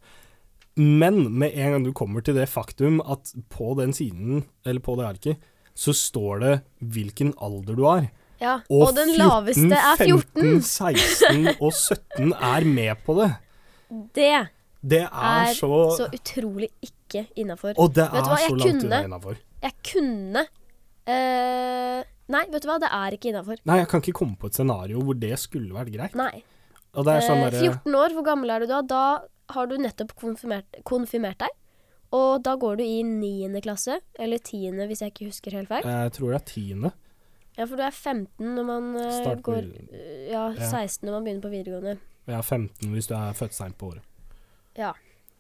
Men med en gang du kommer til det faktum at på den siden, eller på det arket, så står det hvilken alder du er.
Ja, og, den laveste er 14.
15, 16 og 17 er med på det.
Det
Det er,
er
så,
så, utrolig ikke innafor.
Og det
Vet
er
du hva,
så
jeg
langt
kunne-
unna innafor.
Jeg kunne eh, Nei, vet du hva, det er ikke innafor.
Nei, jeg kan ikke komme på et scenario hvor det skulle vært greit.
Nei.
Og det er sånn
Eh,
derre
14 år, hvor gammel er du da? Da har du nettopp konfirmert, konfirmert deg. Og da går du i 9. klasse, eller 10. hvis jeg ikke husker helt feil.
Jeg tror det er tiende.
Ja, for du er 15 når man eh,
Start på
går
videregående.
eh, Ja,
Ja.
16 når man begynner på videregående.
Jeg er 15 hvis du er født seint på året.
Ja.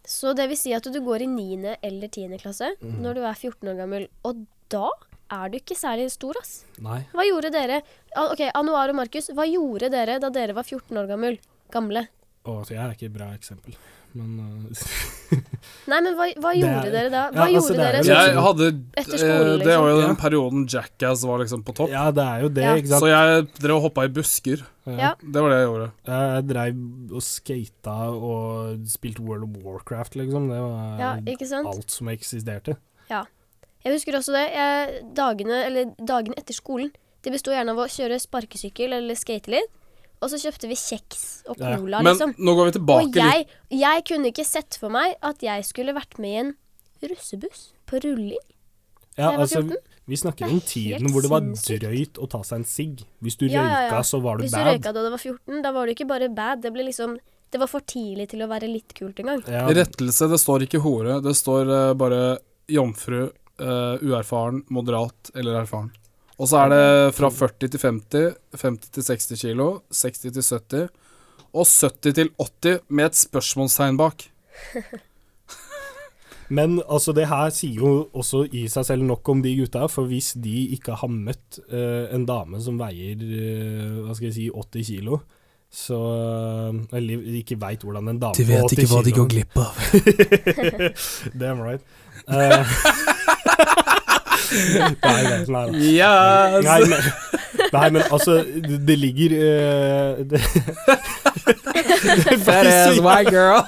Så det vil si at du går i 9. eller 10. klasse
Mhm.
når du er 14 år gammel. Og da er du ikke særlig stor, ass.
Nei.
Hva gjorde dere Ah, Ok, Anuar og Markus, hva gjorde dere da dere var 14 år gammel? Gamle.
Å, så jeg er ikke et bra eksempel, men eh,
Nei, men hva, hva
Det
gjorde
er-
dere da?
Ja,
Hva
altså,
gjorde
det er
dere?
jo-
Jeg hadde
Etter skolen,
eh, Det var jo
liksom.
den perioden Jackass var liksom på
eh,
topp.
(laughs) Ja, det er jo det,
Ja.
ikke sant.
Så jeg drev og hoppa i busker.
Ja.
Det var det jeg gjorde.
Jeg dreiv og skata og spilte World of Warcraft, liksom. Det var
Ja, ikke sant?
alt som eksisterte.
Jeg husker også det. Jeg, dagene, eller dagene etter skolen Det besto gjerne av å kjøre sparkesykkel eller skate litt. Og så kjøpte vi kjeks og
Ja.
cola, liksom.
Men nå går vi
Og
tilbake litt.
jeg, jeg kunne ikke sett for meg at jeg skulle vært med i en russebuss på rulling.
Ja,
Jeg var
altså,
14.
vi snakker
Det er
om tiden
helt
hvor det var
sinnssykt.
drøyt å ta seg en sigg. Hvis du
Ja, ja, ja.
røyka, så var du
Hvis du
bad.
røyka da du var 14, da var du ikke bare bad. Det ble liksom Det var for tidlig til å være litt kult engang.
Ja,
Rettelse, det står ikke hore. Det står eh, bare jomfru, eh, uerfaren, moderat eller erfaren. Og så er det fra 40 til 50, 50 til 60 kilo, 60 til 70 og 70 til 80 med et spørsmålstegn bak.
Men altså, det her sier jo også i seg selv nok om de gutta, for hvis de ikke har møtt eh, en dame som veier eh, hva skal jeg si, 80 kilo, så eh, Eller ikke veit hvordan en dame på 80 kilo
glipp av.
(laughs) Damn right. Eh, (laughs) nei, nei, nei, nei.
Yes!
Nei, men, nei, men altså, det, det ligger eh, (laughs) det,
That is my girl.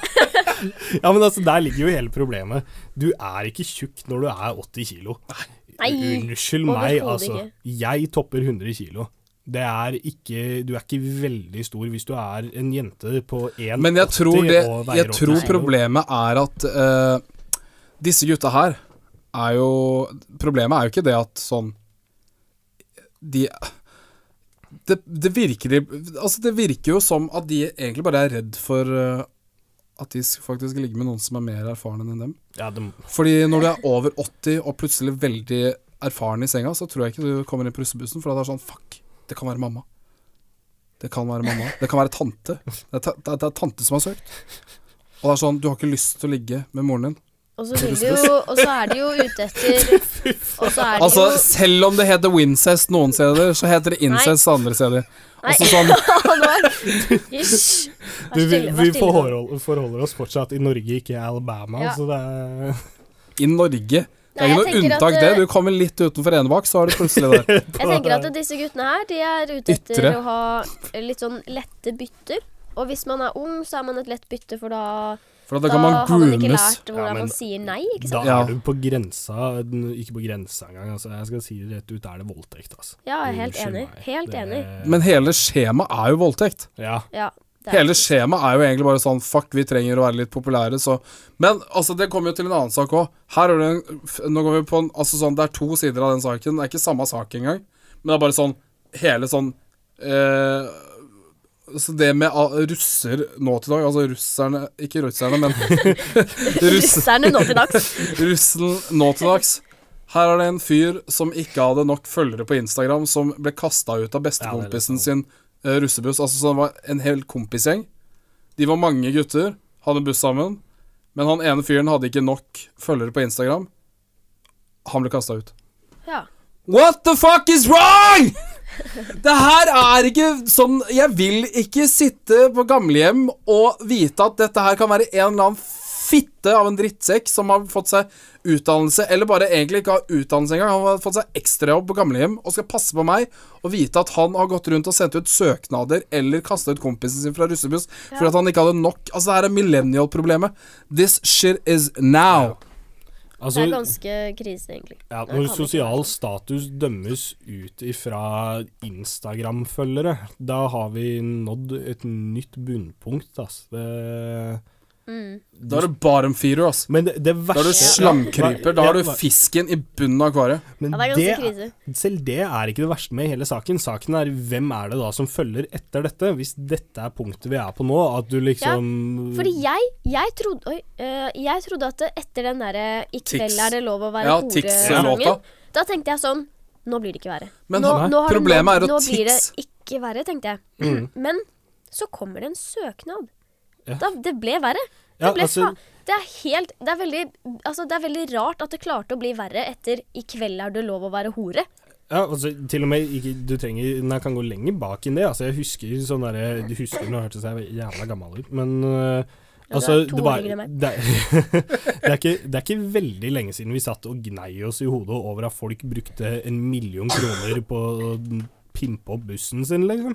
Ja, men altså, der ligger jo hele problemet. Du er ikke tjukk når du er 80 kilo.
Nei,
Unnskyld meg,
overhodet
altså.
ikke.
Jeg topper 100 kilo. Det er ikke, du er ikke veldig stor hvis du er en jente på 1,80
Men jeg tror, det,
og
jeg
veier 80
tror
kilo.
problemet er at eh, disse gutta her er jo Problemet er jo ikke det at sånn De det, det virker de- Altså, det virker jo som at de egentlig bare er redd for eh, at de s- faktisk ligger med noen som er mer erfarne enn dem.
Ja, det,
Fordi når du er over 80 og plutselig veldig erfaren i senga, så tror jeg ikke du kommer inn i prussebussen, for da er det sånn Fuck, det kan være mamma. Det kan være mamma. Det kan være tante. Det er, ta det er, det er tante som har søkt. Og det er sånn Du har ikke lyst til å ligge med moren din.
Og så vil de
(laughs)
jo Og så er de jo ute etter Og så er de
Altså,
jo
selv om det heter wincest noen steder, så heter det incest andre steder. Altså sånn
(laughs) Halvor,
(laughs)
Hysj. Vær
du, vi
stille, vær
vi
stille nå.
forholder, forholder oss fortsatt i Norge, ikke i Alabama,
Ja.
så det er
I Norge. Det er
Nei,
ikke
jeg
noe
tenker at,
unntak, det.
eh,
Du kommer litt utenfor Enebakk, så er du plutselig der.
Jeg tenker at disse guttene her, de er ute etter
Ytre.
å ha litt sånn lette bytter. Og hvis man er ung, så er man et lett bytte, for da,
For da
da
kan man
har man ikke
groomes.
lært hvordan
Ja, men-
man sier nei, ikke sant?
Da
Ja.
er du på grensa n- Ikke på grensa engang, altså. Jeg skal si det rett ut, da er det voldtekt, altså.
Ja, jeg er helt
Unnskyld
enig.
meg.
Helt
Det-
enig.
Men hele skjemaet er jo voldtekt.
Ja.
Ja, det (laughs) er-
Hele skjemaet er jo egentlig bare sånn Fuck, vi trenger å være litt populære, så Men altså, det kommer jo til en annen sak òg. Her er det en f- Nå går vi på en Altså sånn, det er to sider av den saken. Det er ikke samme sak engang. Men det er bare sånn Hele sånn eh, Så det med ah, russer nå til dag Altså russerne Ikke russerne, men
(laughs)
(laughs) russ,
Russerne nå til dags.
(laughs) Russen nå til dags. Her er det en fyr som ikke hadde nok følgere på Instagram, som ble kasta ut av bestekompisen sin eh, russebuss. Altså, så det var en hel kompisgjeng. De var mange gutter, hadde buss sammen. Men han ene fyren hadde ikke nok følgere på Instagram. Han ble kasta ut.
Ja.
What the fuck is wrong?! Det her er ikke sånn Jeg vil ikke sitte på gamlehjem og vite at dette her kan være en eller annen fitte av en drittsekk som har fått seg utdannelse, eller bare egentlig ikke har utdannelse engang. Han har fått seg ekstrajobb på gamlehjem og skal passe på meg og vite at han har gått rundt og sendt ut søknader eller kasta ut kompisen sin fra russebuss fordi at han ikke hadde nok. Altså, det her er millennial-problemet. This shit is now.
Altså,
Det er ganske krise, egentlig.
ja,
Det
når
kan
sosial
ikke
status dømmes ut ifra Instagram-følgere, da har vi nådd et nytt bunnpunkt, altså. Det,
Da er du bottom feeder, ass.
Men det, det
Da
verste
er du slamkryper. Da er du
Ja,
fisken i bunnen av akvariet.
Men
Ja, det er ganske krise.
selv det er ikke det verste med hele saken. Saken er hvem er det da som følger etter dette, hvis dette er punktet vi er på nå, at du liksom
Fordi jeg, jeg trodde Oi. eh, jeg trodde at etter den derre 'I kveld er det lov å være
Ja,
hore'-sangen,
Tix-låta.
da tenkte jeg sånn Nå blir det ikke verre.
Men
nå,
nei,
nå har det-
problemet er at
nå-
Mm.
Nå blir det
Tix-
ikke verre, tenkte jeg. (clears throat) Men så kommer det en søknad.
Ja.
Da, det ble verre.
Ja,
det, ble
altså-
fa- det er helt det er, veldig, altså, det er veldig rart at det klarte å bli verre etter 'I kveld er det lov å være hore'.
Ja, altså, til og med ikke, Du trenger Den kan gå lenger bak enn det. Altså, jeg husker sånn derre Du husker når hørtes jeg jævla gammel ut, men øh,
Ja, du
Altså,
er to
det,
år
var,
yngre
det,
enn meg.
er, (laughs) det, er ikke, det er ikke veldig lenge siden vi satt og gnei oss i hodet over at folk brukte en million kroner på å pimpe opp bussen sin, liksom.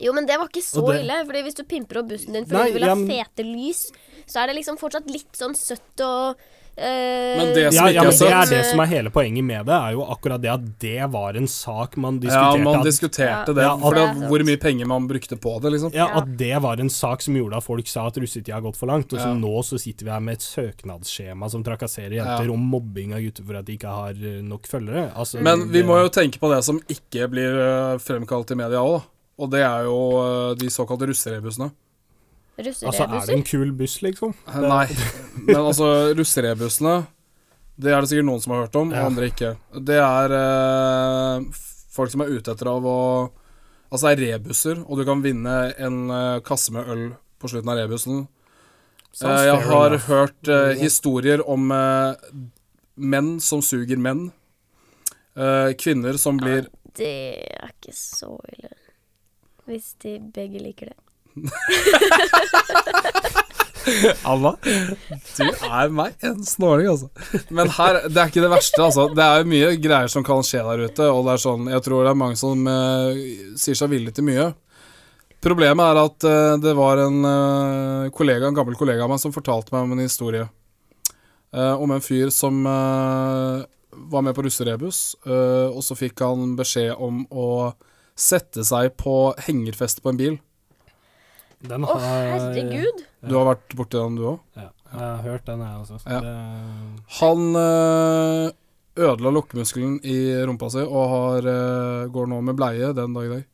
Jo, men det var ikke så
Og det-
ille. Fordi hvis du pimper opp bussen din fordi
Nei,
du vil ha
ja, men-
fete lys, så er det liksom fortsatt litt sånn søtt og eh,
Men det som
Ja,
ikke
ja, men
er
det er
søtt.
det som er hele poenget med det, er jo akkurat det at det var en sak man
Ja,
diskuterte.
man
at,
diskuterte
Ja,
det.
ja,
For det
at-
var hvor mye penger man brukte på det, liksom.
ja, at det var en sak som gjorde at folk sa at russetida har gått for langt. Og så
Ja.
nå så sitter vi her med et søknadsskjema som trakasserer jenter
Ja.
om mobbing av gutter for at de ikke har eh, nok følgere. Altså,
Men vi
det-
må jo tenke på det som ikke blir øh, fremkalt i media òg, og det er jo øh, de såkalte russerebussene.
Altså, er det
russerebuser.
en kul buss, liksom?
Eh, Nei, men (laughs) altså russerebussene Det er det sikkert noen som har hørt om, og
Ja.
andre ikke. Det er eh, f- folk som er ute etter av å Altså, det er rebusser, og du kan vinne en eh, kasse med øl på slutten av rebussen. Eh,
Sounds
jeg
fair
har
enough.
hørt eh, historier om eh, menn som suger menn. Eh, kvinner som blir
Det er ikke så ille. Hvis de begge liker det.
Anna, du er meg en snåling, altså. Men her, det er ikke det verste, altså. Det er jo mye greier som kan skje der ute, og det er sånn Jeg tror det er mange som eh, sier seg villig til mye. Problemet er at eh, det var en eh, kollega, en gammel kollega av meg, som fortalte meg om en historie. eh, om en fyr som eh, var med på russerebus, eh, og så fikk han beskjed om å sette seg på hengerfest på en bil.
Den
Å,
har
herregud!
Du har vært borti den, du òg?
Ja, jeg har hørt den, jeg også. så
Ja.
Det,
Han øh, ødela lukkemuskelen i rumpa si og har, øh, går nå med bleie den dag i dag.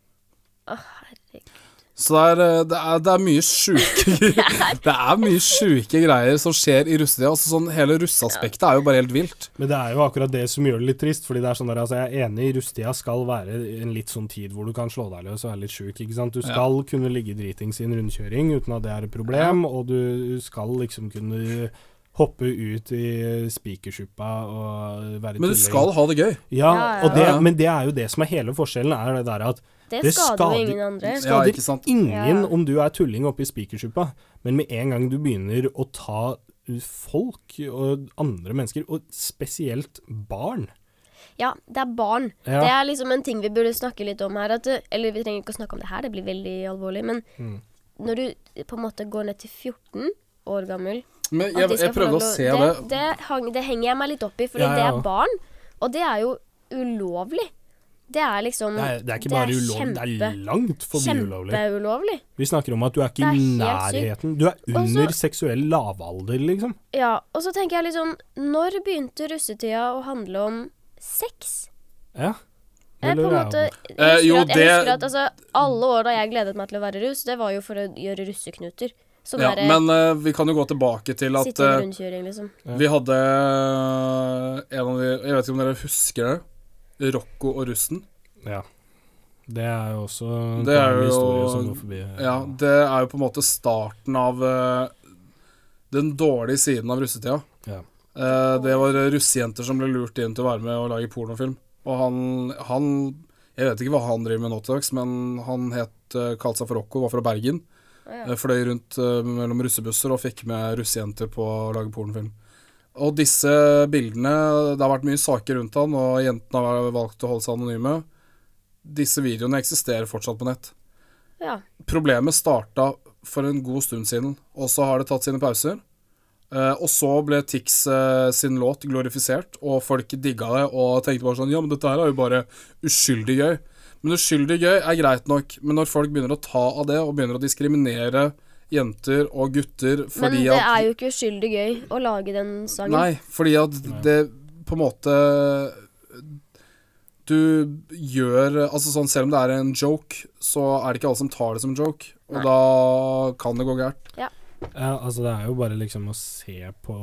Å, herregud.
Så det er, øh, det er, det er mye
(laughs)
sjuke (laughs) Det er mye sjuke greier som skjer i russetida. Altså, sånn, hele russeaspektet er jo bare helt vilt.
Men det er jo akkurat det som gjør det litt trist. Fordi det er sånn der, altså Jeg er enig, rustida skal være en litt sånn tid hvor du kan slå deg løs og er litt sjuk. ikke sant? Du skal kunne ligge dritings i en rundkjøring uten at det er et problem, og du skal liksom kunne hoppe ut i spikersuppa og være
Men du
tulling.
skal ha det gøy.
ja,
Ja, ja,
og det,
ja.
Men det er jo det som er hele forskjellen, er det der at
Det,
Det
skader
skader-
jo ingen andre.
det
Ja,
skader
ikke sant.
ingen
Ja.
om du er tulling oppe i spikersuppa, men med en gang du begynner å ta uh, folk og andre mennesker, og spesielt barn
Ja, det er barn.
Ja.
Det er liksom en ting vi burde snakke litt om her. At, eh, eller vi trenger ikke å snakke om det her, det blir veldig alvorlig. Men
Mm.
når du eh, på en måte går ned til 14 år gammel
Men
at de
jeg,
skal
jeg
få lov
prøvde å
å-
se
det,
det.
det, hang, det henger jeg meg litt opp i, fordi
Ja, ja,
det
ja.
er barn. Og det er jo ulovlig. Det er liksom
Det er, det er ikke bare ulovlig, det er langt forbi ulovlig.
Kjempeulovlig.
Vi snakker om at du er
Det
ikke
er
i
helt
nærheten. Du er under seksuell lavalder, liksom.
Ja, og så tenker jeg liksom Når begynte russetida å handle om sex?
Ja.
Jeg, på en
Eller er
måte,
det-
jeg
Eh,
husker
jo,
at, jeg
det-
husker at altså, alle år da jeg gledet meg til å være russ, det var jo for å gjøre russeknuter. Sånn
Ja,
derre
men øh, vi kan jo gå tilbake til at
sitte i
øh,
en rundkjøring, liksom.
vi hadde øh, en av de Jeg vet ikke om dere husker det? Rocco og russen.
ja. Det er jo også en
Det er jo-
historie som går forbi.
Ja, det er jo på en måte starten av eh, den dårlige siden av russetida.
Ja.
Eh, det var russejenter som ble lurt inn til å være med og lage pornofilm. Og han, han Jeg vet ikke hva han driver med nå til dags, men han het eh, kalte seg for Rocco, var fra Bergen. Eh, fløy rundt eh, mellom russebusser og fikk med russejenter på å lage pornofilm. Og disse bildene Det har vært mye saker rundt han, og jentene har valgt å holde seg anonyme. Disse videoene eksisterer fortsatt på nett
Ja.
problemet starta for en god stund siden, og så har det tatt sine pauser. Eh, og så ble Tix eh, sin låt glorifisert, og folk digga det og tenkte bare sånn Ja, men dette her er jo bare uskyldig gøy. Men uskyldig gøy er greit nok, men når folk begynner å ta av det og begynner å diskriminere jenter og gutter
Men
fordi
det
at
er jo ikke uskyldig gøy å lage den sangen.
Nei, fordi at det på en måte Du gjør Altså sånn, selv om det er en joke, så er det ikke alle som tar det som en joke. Og
Nei.
da kan det gå gærent.
Ja, altså det er jo bare liksom å se på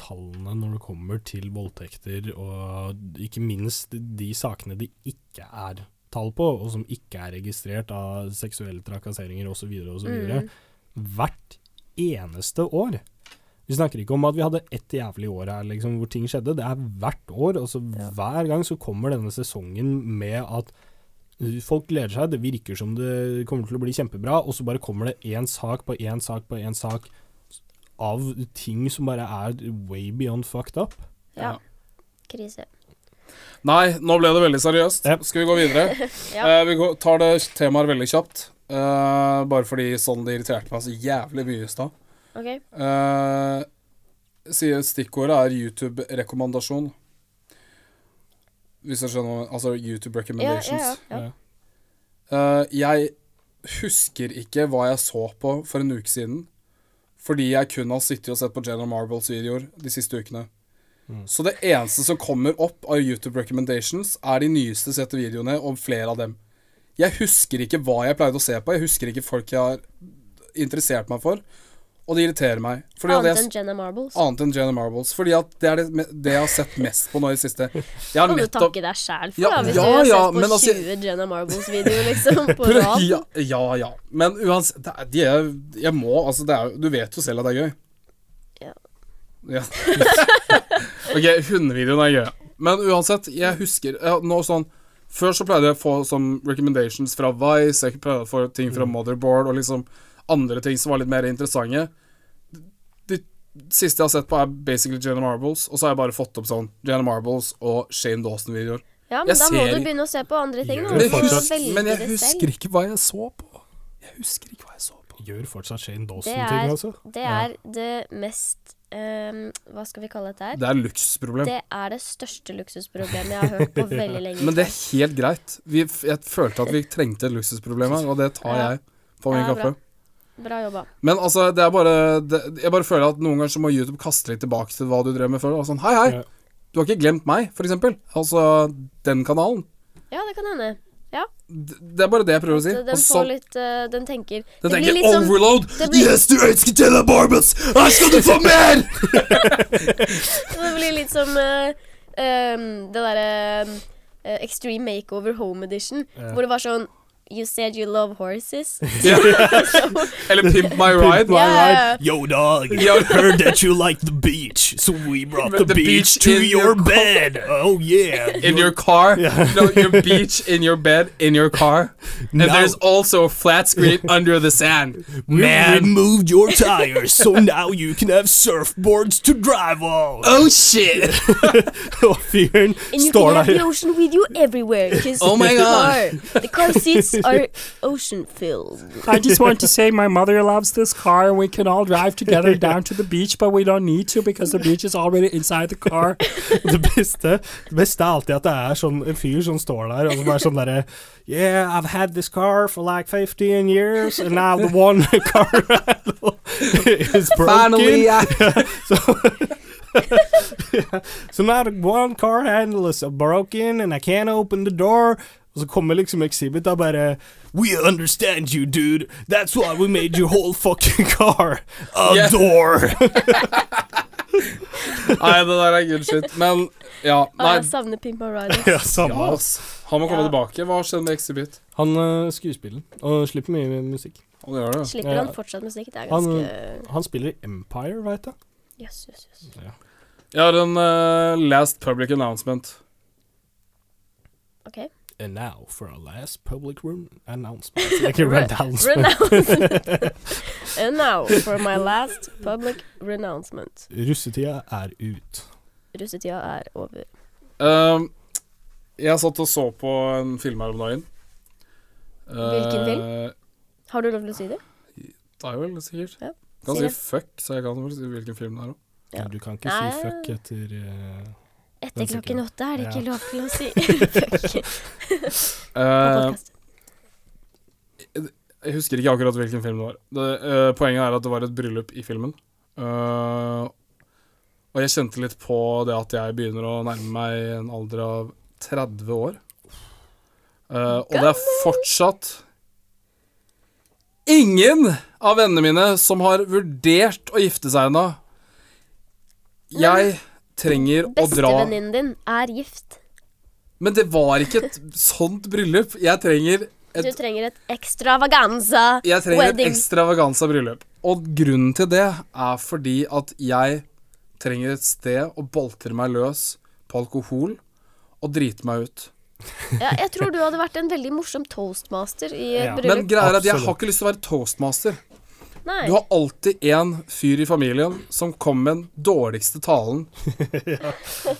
tallene når det kommer til voldtekter, og ikke minst de sakene det ikke er tall på, og som ikke er registrert av seksuelle trakasseringer osv. osv. videre Hvert eneste år. Vi snakker ikke om at vi hadde ett jævlig år her liksom, hvor ting skjedde. Det er hvert år. og så Hver gang så kommer denne sesongen med at Folk gleder seg, det virker som det kommer til å bli kjempebra, og så bare kommer det én sak på én sak på én sak av ting som bare er way beyond fucked up.
Ja. Krise.
Nei, nå ble det veldig seriøst.
Yep.
Skal vi gå
(laughs)
videre?
Ja.
Eh, vi går, tar det temaet veldig kjapt. eh, bare fordi sånn det irriterte meg så jævlig mye i stad.
OK?
Eh, sier stikkordet er YouTube-rekommandasjon. Hvis jeg skjønner hva- Altså YouTube recommendations.
Ja, ja,
Eh, jeg husker ikke hva jeg så på for en uke siden, fordi jeg kun har sittet og sett på General Marbles videoer de siste ukene. Så det eneste som kommer opp av YouTube recommendations, er de nyeste sette videoene, og flere av dem. Jeg husker ikke hva jeg pleide å se på, jeg husker ikke folk jeg har interessert meg for, og det irriterer meg. Fordi at jeg- Ah,
Annet enn Jenna Marbles.
Annet enn Jenna Marbles. Fordi at det er det, me- det jeg har sett mest på nå i det siste. Jeg har
Kan du
nettopp
takke deg sjæl for,
Ja,
da, hvis
ja,
du har
ja,
sett på
men altså-
20 Jenna
(laughs)
Marbles-videoer, liksom, på rad?
ja, ja, ja. Men uansett det er, de er, Jeg må Altså, det er, jo- du vet jo selv at det er gøy.
Ja.
Ja. (laughs) ok, hundevideoen er gøy. Men uansett, jeg husker ja, nå sånn Før så pleide jeg å få sånn recommendations fra Vice, jeg pleide å få ting fra Motherboard og liksom andre ting som var litt mer interessante. De siste jeg har sett på, er basically Jenna Marbles, og så har jeg bare fått opp sånn Jenna Marbles og Shane Dawson-videoer.
Ja, men
Jeg
da må
ser
du
ikke-
begynne å se på andre ting.
Gjør
da.
det
Du må
fortsatt.
velge
men jeg
det selv.
husker ikke hva jeg så på. Jeg husker ikke hva jeg så på.
Gjør fortsatt Shane
Det
Dawson-ting,
er,
altså.
det er det mest ehm, Hva skal vi kalle dette her?
Det er luksusproblem.
Det er det største luksusproblemet jeg har hørt
(laughs)
på veldig lenge.
Men det er helt greit. Vi, f- jeg følte at vi trengte et luksusproblem her, og det tar
Ja.
jeg på min
Ja,
kaffe.
bra. Bra jobba.
Men altså, det er bare det, Jeg bare føler at noen ganger så må YouTube kaste litt tilbake til hva du drev med før. Og sånn, hei, hei,
Ja.
du har ikke glemt meg, for eksempel. Altså, den kanalen.
Ja, det kan hende. Ja,
D- Det er bare det jeg prøver å si.
så den
Og så
får litt eh, Den tenker
den
blir
tenker
litt sånn- som-
overload!
det blir-
Yes, du elsker Taylor Barbels! Her skal du få mer!
Det blir litt som eh, ehm, det derre ehm, eh, Extreme Makeover Home Edition, hvor det var sånn You said you love
(laughs)
horses.
Eller Pimp My Ride.
Ja, ja, ja.
Yo, dog.
(laughs) Yo.
heard that you like the beach, so we brought
The beach in your car.
bed. Oh
(laughs)
yeah.
in your car. No, (laughs) your beach in your bed in your car. And there's also a flat screen under the (laughs) sand. Man.
removed your tires, so now you can have surfboards to drive on.
Oh shit.
(laughs) Og fyren
And you
står
can have the
der
ocean with you everywhere. 'cause
Oh my
the
God.
Car, the car
(laughs)
seats are ocean filled.
I just want to say my mother loves this car and we can all drive together down to the beach, but we don't need to because the beach is already inside the car.
det beste. Det beste er alltid at det er sånn en fyr som står der og som er sånn derre Yeah, I've had this car for like 15 years, and now the one (laughs) car is broken. (laughs)
I-
So now the one car handle is broken and I can't open the door. Og så kommer liksom Exhibit da bare
We understand you, dude. That's why we made your whole fucking car a
Yeah.
door.
Nei, det der er good shit. Men ja,
Ah,
nei.
jeg savner Pimp My Ride.
Ja, samme.
Ja, ass. Han må komme
Ja.
tilbake. Hva skjedde med Exhibit?
Han uh, skuespiller og slipper mye musikk.
Han gjør det.
Slipper han fortsatt musikk? Det er
Han-
ganske
Han spiller Empire, veit jeg.
Jøss, jøss, jøss.
Jeg har en eh, last public announcement.
OK.
And now for our last public room (laughs) announcement. Like a renouncement.
Renouncement.
(laughs)
And now for my last public renouncement.
Russetida er ut.
Russetida er over.
Um, jeg satt og så på en film her om dagen.
Hvilken film?
Eh,
Har du lov til å si det?
Det er jo vel sikkert.
Ja,
Kan
si
si
det.
fuck, så jeg kan vel si hvilken film det er òg.
Ja.
Du kan ikke
Nei.
si fuck etter eh,
Etter
Den
klokken
sekunden.
åtte er det ikke
Ja.
lov til (laughs) å
(laughs)
si fuck på
Eh,
podcast.
Jeg husker ikke akkurat hvilken film det var. Det, eh, poenget er at det var et bryllup i filmen. Eh, og jeg kjente litt på det at jeg begynner å nærme meg en alder av 30 år. Eh, og det er fortsatt ingen av vennene mine som har vurdert å gifte seg ennå. Jeg trenger å dra
Bestevenninnen din er gift.
Men det var ikke et sånt bryllup. Jeg trenger
Du
et
trenger et extravaganza
jeg trenger et
wedding.
ekstravaganza bryllup. Og grunnen til det er fordi at jeg trenger et sted å boltre meg løs på alkohol og drite meg ut.
ja, jeg tror du hadde vært en veldig morsom toastmaster i et
Ja.
Men
bryllup.
greia er at jeg har
Absolutt.
ikke lyst til å være toastmaster.
Nei.
Du har alltid en fyr i familien som kommer med den dårligste talen.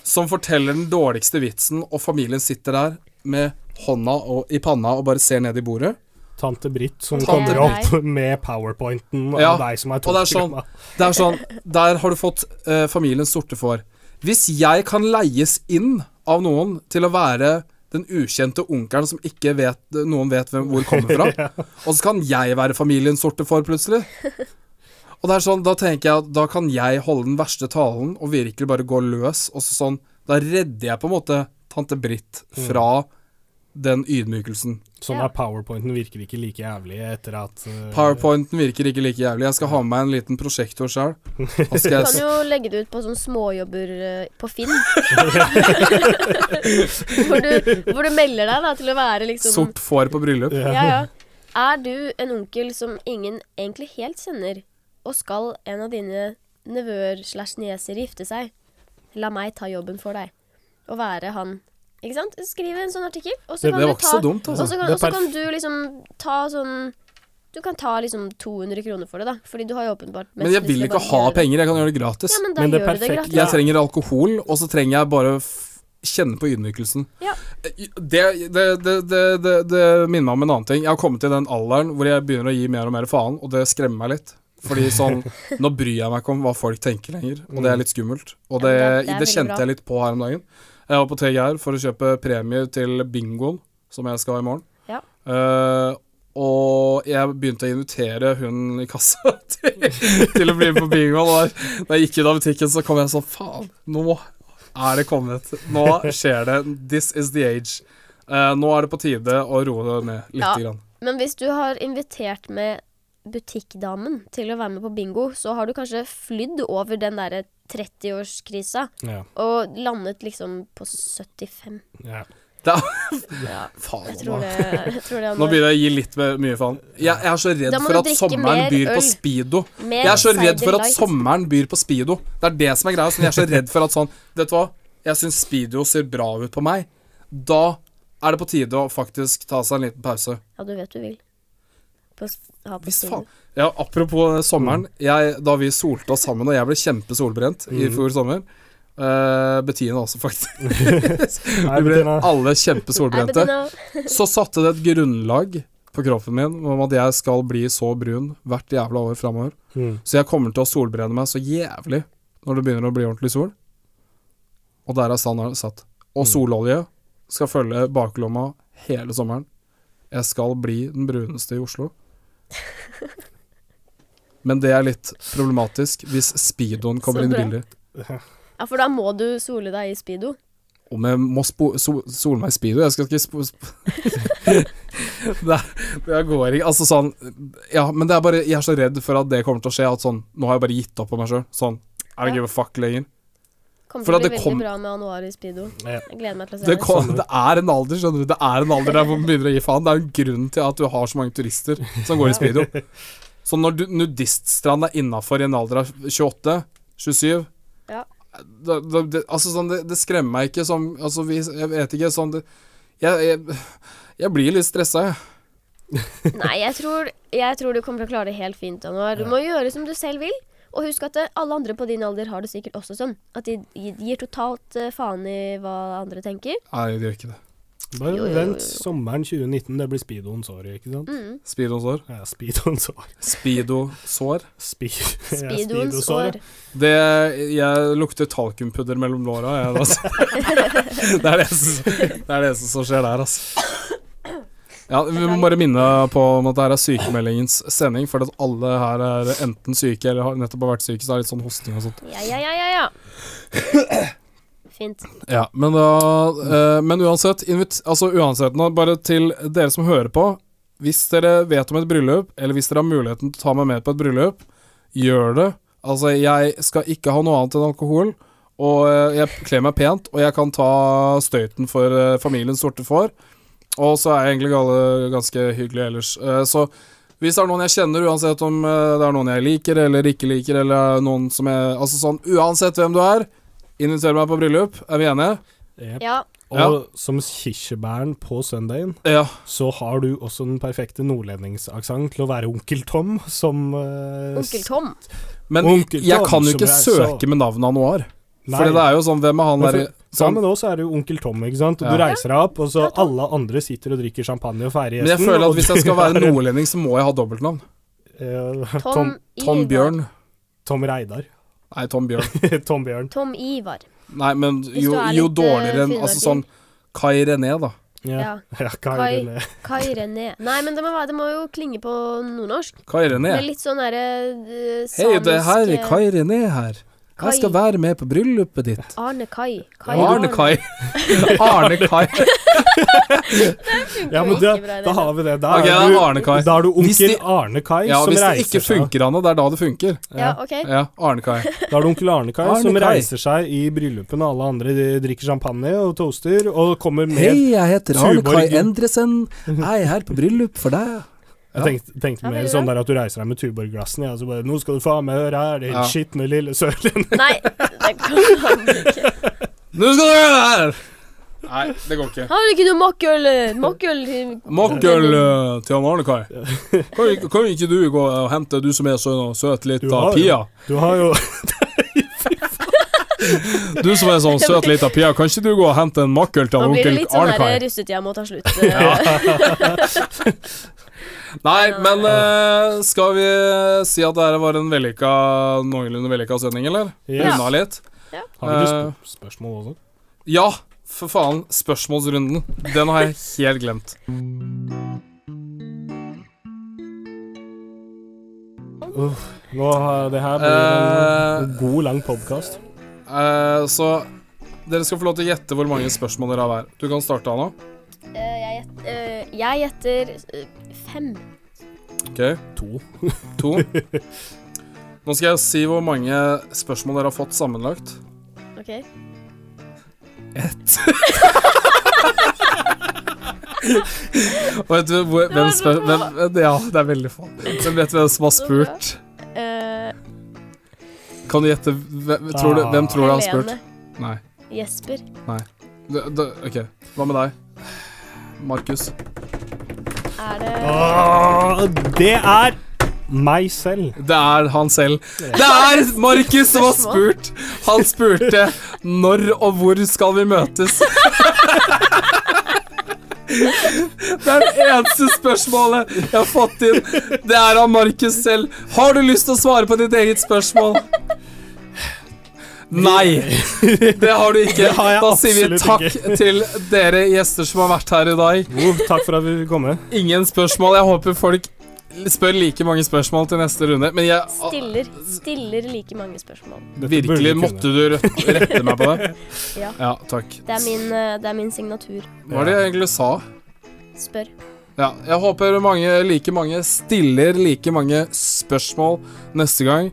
Som forteller den dårligste vitsen, og familien sitter der med hånda og, i panna og bare ser ned i bordet.
Tante Britt som
Tante
kommer opp (laughs) med powerpointen av
Ja,
deg som er
Og det er sånn, det er sånn Der har du fått eh, familiens sorte får. Hvis jeg kan leies inn av noen til å være den ukjente onkelen som ikke vet, noen vet hvem, hvor kommer
(laughs)
fra, og så kan jeg være familiens sorte får plutselig Og det er sånn, Da tenker jeg at da kan jeg holde den verste talen og virkelig bare gå løs. Og så sånn, Da redder jeg på en måte tante Britt
Mm.
fra den ydmykelsen.
(laughs) Sånn
Ja.
er powerpointen virker ikke like jævlig etter at eh,
Powerpointen virker ikke like jævlig. Jeg skal ha med meg en liten prosjektor sjøl.
(laughs)
Du kan jo legge det ut på sånne småjobber eh, på
(laughs)
Finn. (laughs) hvor, du, hvor du melder deg da til å være liksom
Sort får på bryllup.
Ja, ja. (laughs) Er du en onkel som ingen egentlig helt kjenner, og skal en av dine nevøer slash nieser gifte seg, la meg ta jobben for deg. Og være han. Ikke sant? Skriv en sånn artikkel, og så
Det- det
kan du
var ikke
ta
så dumt, altså.
Og så kan,
Det er
og så
perf-
kan du liksom ta sånn Du kan ta liksom 200 kroner for det, da, fordi du har jo åpenbart liksom
Men jeg vil ikke ha penger, jeg kan gjøre det gratis.
Ja, men da
Men det
gjør du det
perfekte-
gratis.
Jeg trenger alkohol, og så trenger jeg bare f kjenne på ydmykelsen.
Ja.
Det, det, det, det, det, det minner meg om en annen ting. Jeg har kommet til den alderen hvor jeg begynner å gi mer og mer faen, og det skremmer meg litt. Fordi sånn, Nå bryr jeg meg ikke om hva folk tenker lenger, og det er litt skummelt. Og det,
Ja,
det,
men det- det er veldig bra.
kjente jeg litt på her om dagen. Jeg var på TGR for å kjøpe premier til bingoen som jeg skal ha i morgen.
Ja.
Eh, og jeg begynte å invitere hun i kassa (laughs) til, til å bli med på bingoen. Og da- da jeg gikk ut av butikken, så kom jeg sånn Faen, nå er det kommet. Nå skjer det. This is the age. Eh, nå er det på tide å roe det ned litt.
Ja.
Grann.
Men hvis du har invitert med butikkdamen til å være med på bingo, så har du kanskje flydd over den derre 30-årskrisa
Ja.
og landet liksom på 75.
Ja.
Det (laughs) er,
Ja,
faen,
jeg
nå.
tror det, jeg tror det er
Nå begynner jeg å gi litt mer- mye faen. Jeg, jeg er så redd
Da må
for
du
at
drikke
sommeren
mer
byr
øl.
på speedo.
Mer
Jeg er så redd
cider
for at
light.
sommeren byr på speedo. Det er det som er greia. Sånn, jeg er så (laughs) redd for at sånn Vet du hva, jeg syns speedo ser bra ut på meg. Da er det på tide å faktisk ta seg en liten pause.
Ja, du vet du vil. På, s- ha på
Hvis
siden.
faen Mm. Ja, apropos eh, sommeren. Jeg, da vi solte oss sammen, og jeg ble kjempesolbrent i fjor sommer eh, Bettina også, faktisk.
Nei,
Vi ble
Bettina.
(laughs) alle
Nei,
kjempesolbrente.
men nå-
Så satte det et grunnlag på kroppen min om at jeg skal bli så brun hvert jævla år framover.
(laughs) Mm.
Så jeg kommer til å solbrenne meg så jævlig når det begynner å bli ordentlig sol. Og der er standarden satt. Og
Mm.
sololje skal følge baklomma hele sommeren. Jeg skal bli den bruneste i
(laughs)
Oslo. Men det er litt problematisk hvis speedoen kommer
Så
inn i
bra.
bildet.
Ja, for da må du sole deg i speedo.
Om jeg må spo so sole meg i speedo? Jeg skal ikke spo... sp- (laughs) det, det går ikke. Altså sånn Ja, men det er bare Jeg er så redd for at det kommer til å skje. At sånn Nå har jeg bare gitt opp på meg sjøl. Sånn I don't give a fuck lenger.
Kommer
For
til å
at
bli
det
veldig
kom-
bra med Anuar i speedo.
Ja.
Jeg gleder meg til å se
Det,
det.
kom, det er en alder, skjønner du. Det er en alder der hvor man begynner å gi faen. Det er jo en grunn til at du har så mange turister som går i speedo. Så når du, nudiststrand er innafor i en alder av 28, 27
Ja.
da, da, det, altså sånn, det, det skremmer meg ikke som Altså, vi, jeg vet ikke sånn det, jeg, jeg, jeg blir litt stressa, jeg.
Nei, jeg tror, jeg tror du kommer til å klare det helt fint. Anwar. Du må gjøre som du selv vil. Og husk at eh, alle andre på din alder har det sikkert også sånn. At de gi- gir totalt eh, faen i hva andre
(laughs)
tenker.
Nei, det gjør ikke det.
Bare
Jo, jo, jo,
vent,
jo.
sommeren 2019, det blir speedoens år, ikke sant?
Mm.
Speedo-sår.
Ja, speedoens år.
Speedo-sår.
Speed, (laughs) ja,
Speedoens
speedos år,
år.
Det Jeg lukter talkumpudder mellom låra, jeg, (laughs) altså. det, er det, eneste- det er det eneste som skjer der, altså. Ja, Vi må bare minne på om at det her er sykemeldingens sending, for at alle her er enten syke eller har nettopp har vært syke, så det er litt sånn hosting og sånt.
Ja, ja, ja, ja,
(coughs)
ja. Fint.
Ja, Men, da, eh, men uansett, invit, altså uansett nå, bare til dere som hører på. Hvis dere vet om et bryllup, eller hvis dere har muligheten til å ta meg med på et bryllup, gjør det. Altså, jeg skal ikke ha noe annet enn alkohol, og eh, jeg kler meg pent, og jeg kan ta støyten for eh, familiens sorte får. Og så er jeg egentlig gale, ganske hyggelig ellers. Eh, Så hvis det er noen jeg kjenner, uansett om eh, det er noen jeg liker eller ikke liker, eller noen som jeg Altså sånn, uansett hvem du er, inviter meg på bryllup. Er vi enige?
Jep.
Ja.
Ja.
Og som kirsebæren på søndagen,
Ja.
så har du også den perfekte nordlendingsaksent til å være onkel Tom, som eh,
Onkel Tom.
Men
Onkel
jeg
Tom
kan jo
som
ikke
er så-
søke med navnet han nå har.
Nei.
Fordi det er jo sånn, hvem er han
Men
der
for-
i-
Ja,
sånn,
men nå så er det jo onkel Tom, ikke sant. Og du
Ja.
reiser deg opp, og så
Ja, Tom.
alle andre sitter og drikker champagne og feirer
Men jeg
gjesten.
føler at
og
hvis
du
jeg skal
(laughs) er
være
en-
nordlending, så må jeg ha dobbeltnavn.
Tom,
eh, Tom,
Tom
Ivar.
Bjørn.
Tom Reidar. (laughs)
Nei, Tom Bjørn.
Tom Bjørn.
Tom Ivar.
Nei, men
Hvis
jo,
du er
jo
litt, eh,
dårligere enn Altså sånn
finnmarking.
Kai René, da.
Ja.
ja Kai,
Kai.
René.
Kai René. Nei, men det må, være- det må jo klinge på nordnorsk.
Kai René.
Det er litt sånn derre
Hei, det er her Kai René her.
eh, Kai.
Jeg skal være med på bryllupet ditt.
Arne Kai. Kai
Arne
(laughs)
Kai. Arne Kai.
Ja, men
det,
det, da har vi det. Da
Ok, da
er
er
du,
Arne Kai.
Da er du
Hvis
onkel
de-
Arne Kai
Ja,
som
hvis det
reiser
ikke
seg.
funker, Anne, det er da det funker.
Ja, OK.
Ja, Arne Kai.
Da er det onkel Arne Kai
Arne
som
Kai.
reiser seg i bryllupene, alle andre de drikker champagne og toaster, og kommer med
jeg heter
Arne Kai Tuborgen.
Endresen. Jeg er her på bryllup for deg.
Jeg tenkte, tenkte
Ja,
mer
veldig
sånn der at du reiser deg med Tuborg-glassene, ja, så bare 'Nå skal du faen meg høre her, din
Ja.
skitne lille sørlending'.
Nei, det kan han ikke.
Nå skal du gjøre det her! Nei, det går ikke.
Har du ikke noe mokkøl? eh, Mokkøl eh,
Mokkel eh, til han Arne Kai. Kan, ikke- kan ikke du gå og hente, du som er så søt
Du
lita
har jo-
pia?
Du har jo
Du som
(laughs)
er sånn søt lita pia, kan ikke du gå og hente en makkel til
Nå
han
blir det
onkel
litt sånn
Arne Kai?
der russetida må ta slutt. (laughs) eh.
Nei, men eh, skal vi si at dette var en vellykka, noenlunde vellykka sending, eller?
Yes.
Runda litt?
Har vi
Eh,
noen sp spørsmål også?
Ja, for faen. Spørsmålsrunden. Den har jeg helt glemt.
Nå har det her blir en god, lang podkast.
Eh, så dere skal få lov til å gjette hvor mange spørsmål dere har hver. Du kan starte, Anna.
Eh, jeg gjett- eh, Jeg gjetter eh, fem.
Ok,
To.
To. Nå skal jeg si hvor mange spørsmål dere har fått sammenlagt.
OK?
Og vet du hvor, hvem spør... Hvem, ja, det er veldig få. Hvem vet hvem som har spurt?
Eh,
Kan du gjette hvem tror du, hvem tror du har spurt?
Helene.
Nei.
Jesper.
D d ok, hva med deg? Markus.
Er det
Ah, det er meg selv.
Det er han selv. Det er Markus som har spurt! Han spurte når og hvor skal vi møtes? Det er det eneste spørsmålet jeg har fått inn. Det er av Markus selv. Har du lyst til å svare på ditt eget spørsmål? Nei. Det har du ikke.
Det har jeg
Da sier vi
absolutt
takk
ikke.
til dere gjester som har vært her i dag.
Jo, takk for at vi fikk komme.
Ingen spørsmål. Jeg håper folk spør like mange spørsmål til neste runde. Men jeg
Stiller, stiller like mange spørsmål.
virkelig
burde du
måtte du rett- rette meg på det.
(laughs) Ja.
takk.
Det er min, eh, det er min signatur.
Hva er det jeg egentlig sa?
Spør.
Ja, jeg håper mange, like mange stiller like mange spørsmål neste gang.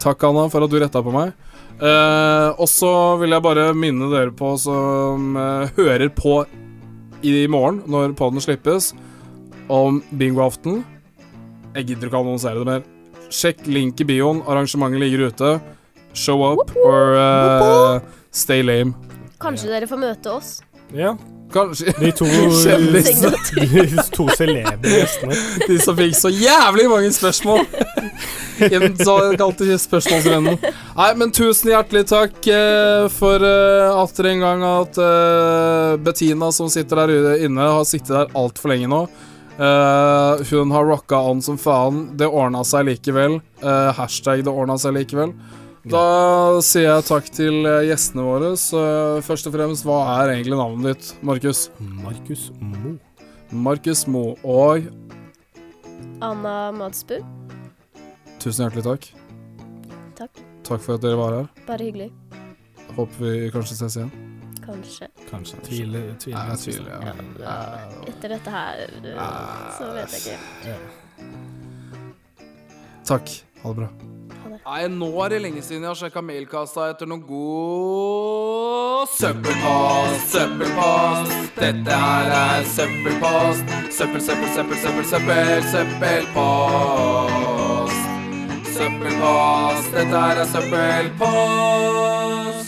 Takk, Anna, for at du retta på meg. Eh, og så vil jeg bare minne dere på som eh, hører på i morgen, når poden slippes, om bingoaften. Jeg gidder ikke å annonsere det mer. Sjekk link i bioen. Arrangementet ligger ute. Show up or eh, stay lame.
Kanskje dere får møte oss.
Ja,
Kanskje
De to,
Kjendis.
(laughs) de to celebre gjestene.
De som fikk så jævlig mange spørsmål. I den såkalte spørsmålsrunden. Nei, men tusen hjertelig takk eh, for eh, atter en gang at eh, Bettina, som sitter der inne, har sittet der altfor lenge nå. Eh, hun har rocka on som faen. Det ordna seg likevel. Eh, hashtag 'det ordna seg likevel'. Da sier jeg takk til eh, gjestene våre. Så, eh, først og fremst, hva er egentlig navnet ditt, Markus?
Markus Mo.
Markus Mo og
Anna Madsbu.
tusen hjertelig takk.
Takk.
Takk for at dere var her.
Bare hyggelig.
Håper vi kanskje ses igjen.
Kanskje.
Kanskje. Tviler.
Nei,
tviler.
jeg tviler.
Ja,
Ja.
men, eh, etter dette her eh, så vet jeg ikke.
Takk. Ha det bra.
Nei, nå er det lenge siden jeg har sjekka mailkassa etter noe god søppelpost, søppelpost. Dette her er søppelpost. Søppel, søppel, søppel, søppel, søppel, søppelpost. Søppelpost, dette her er søppelpost.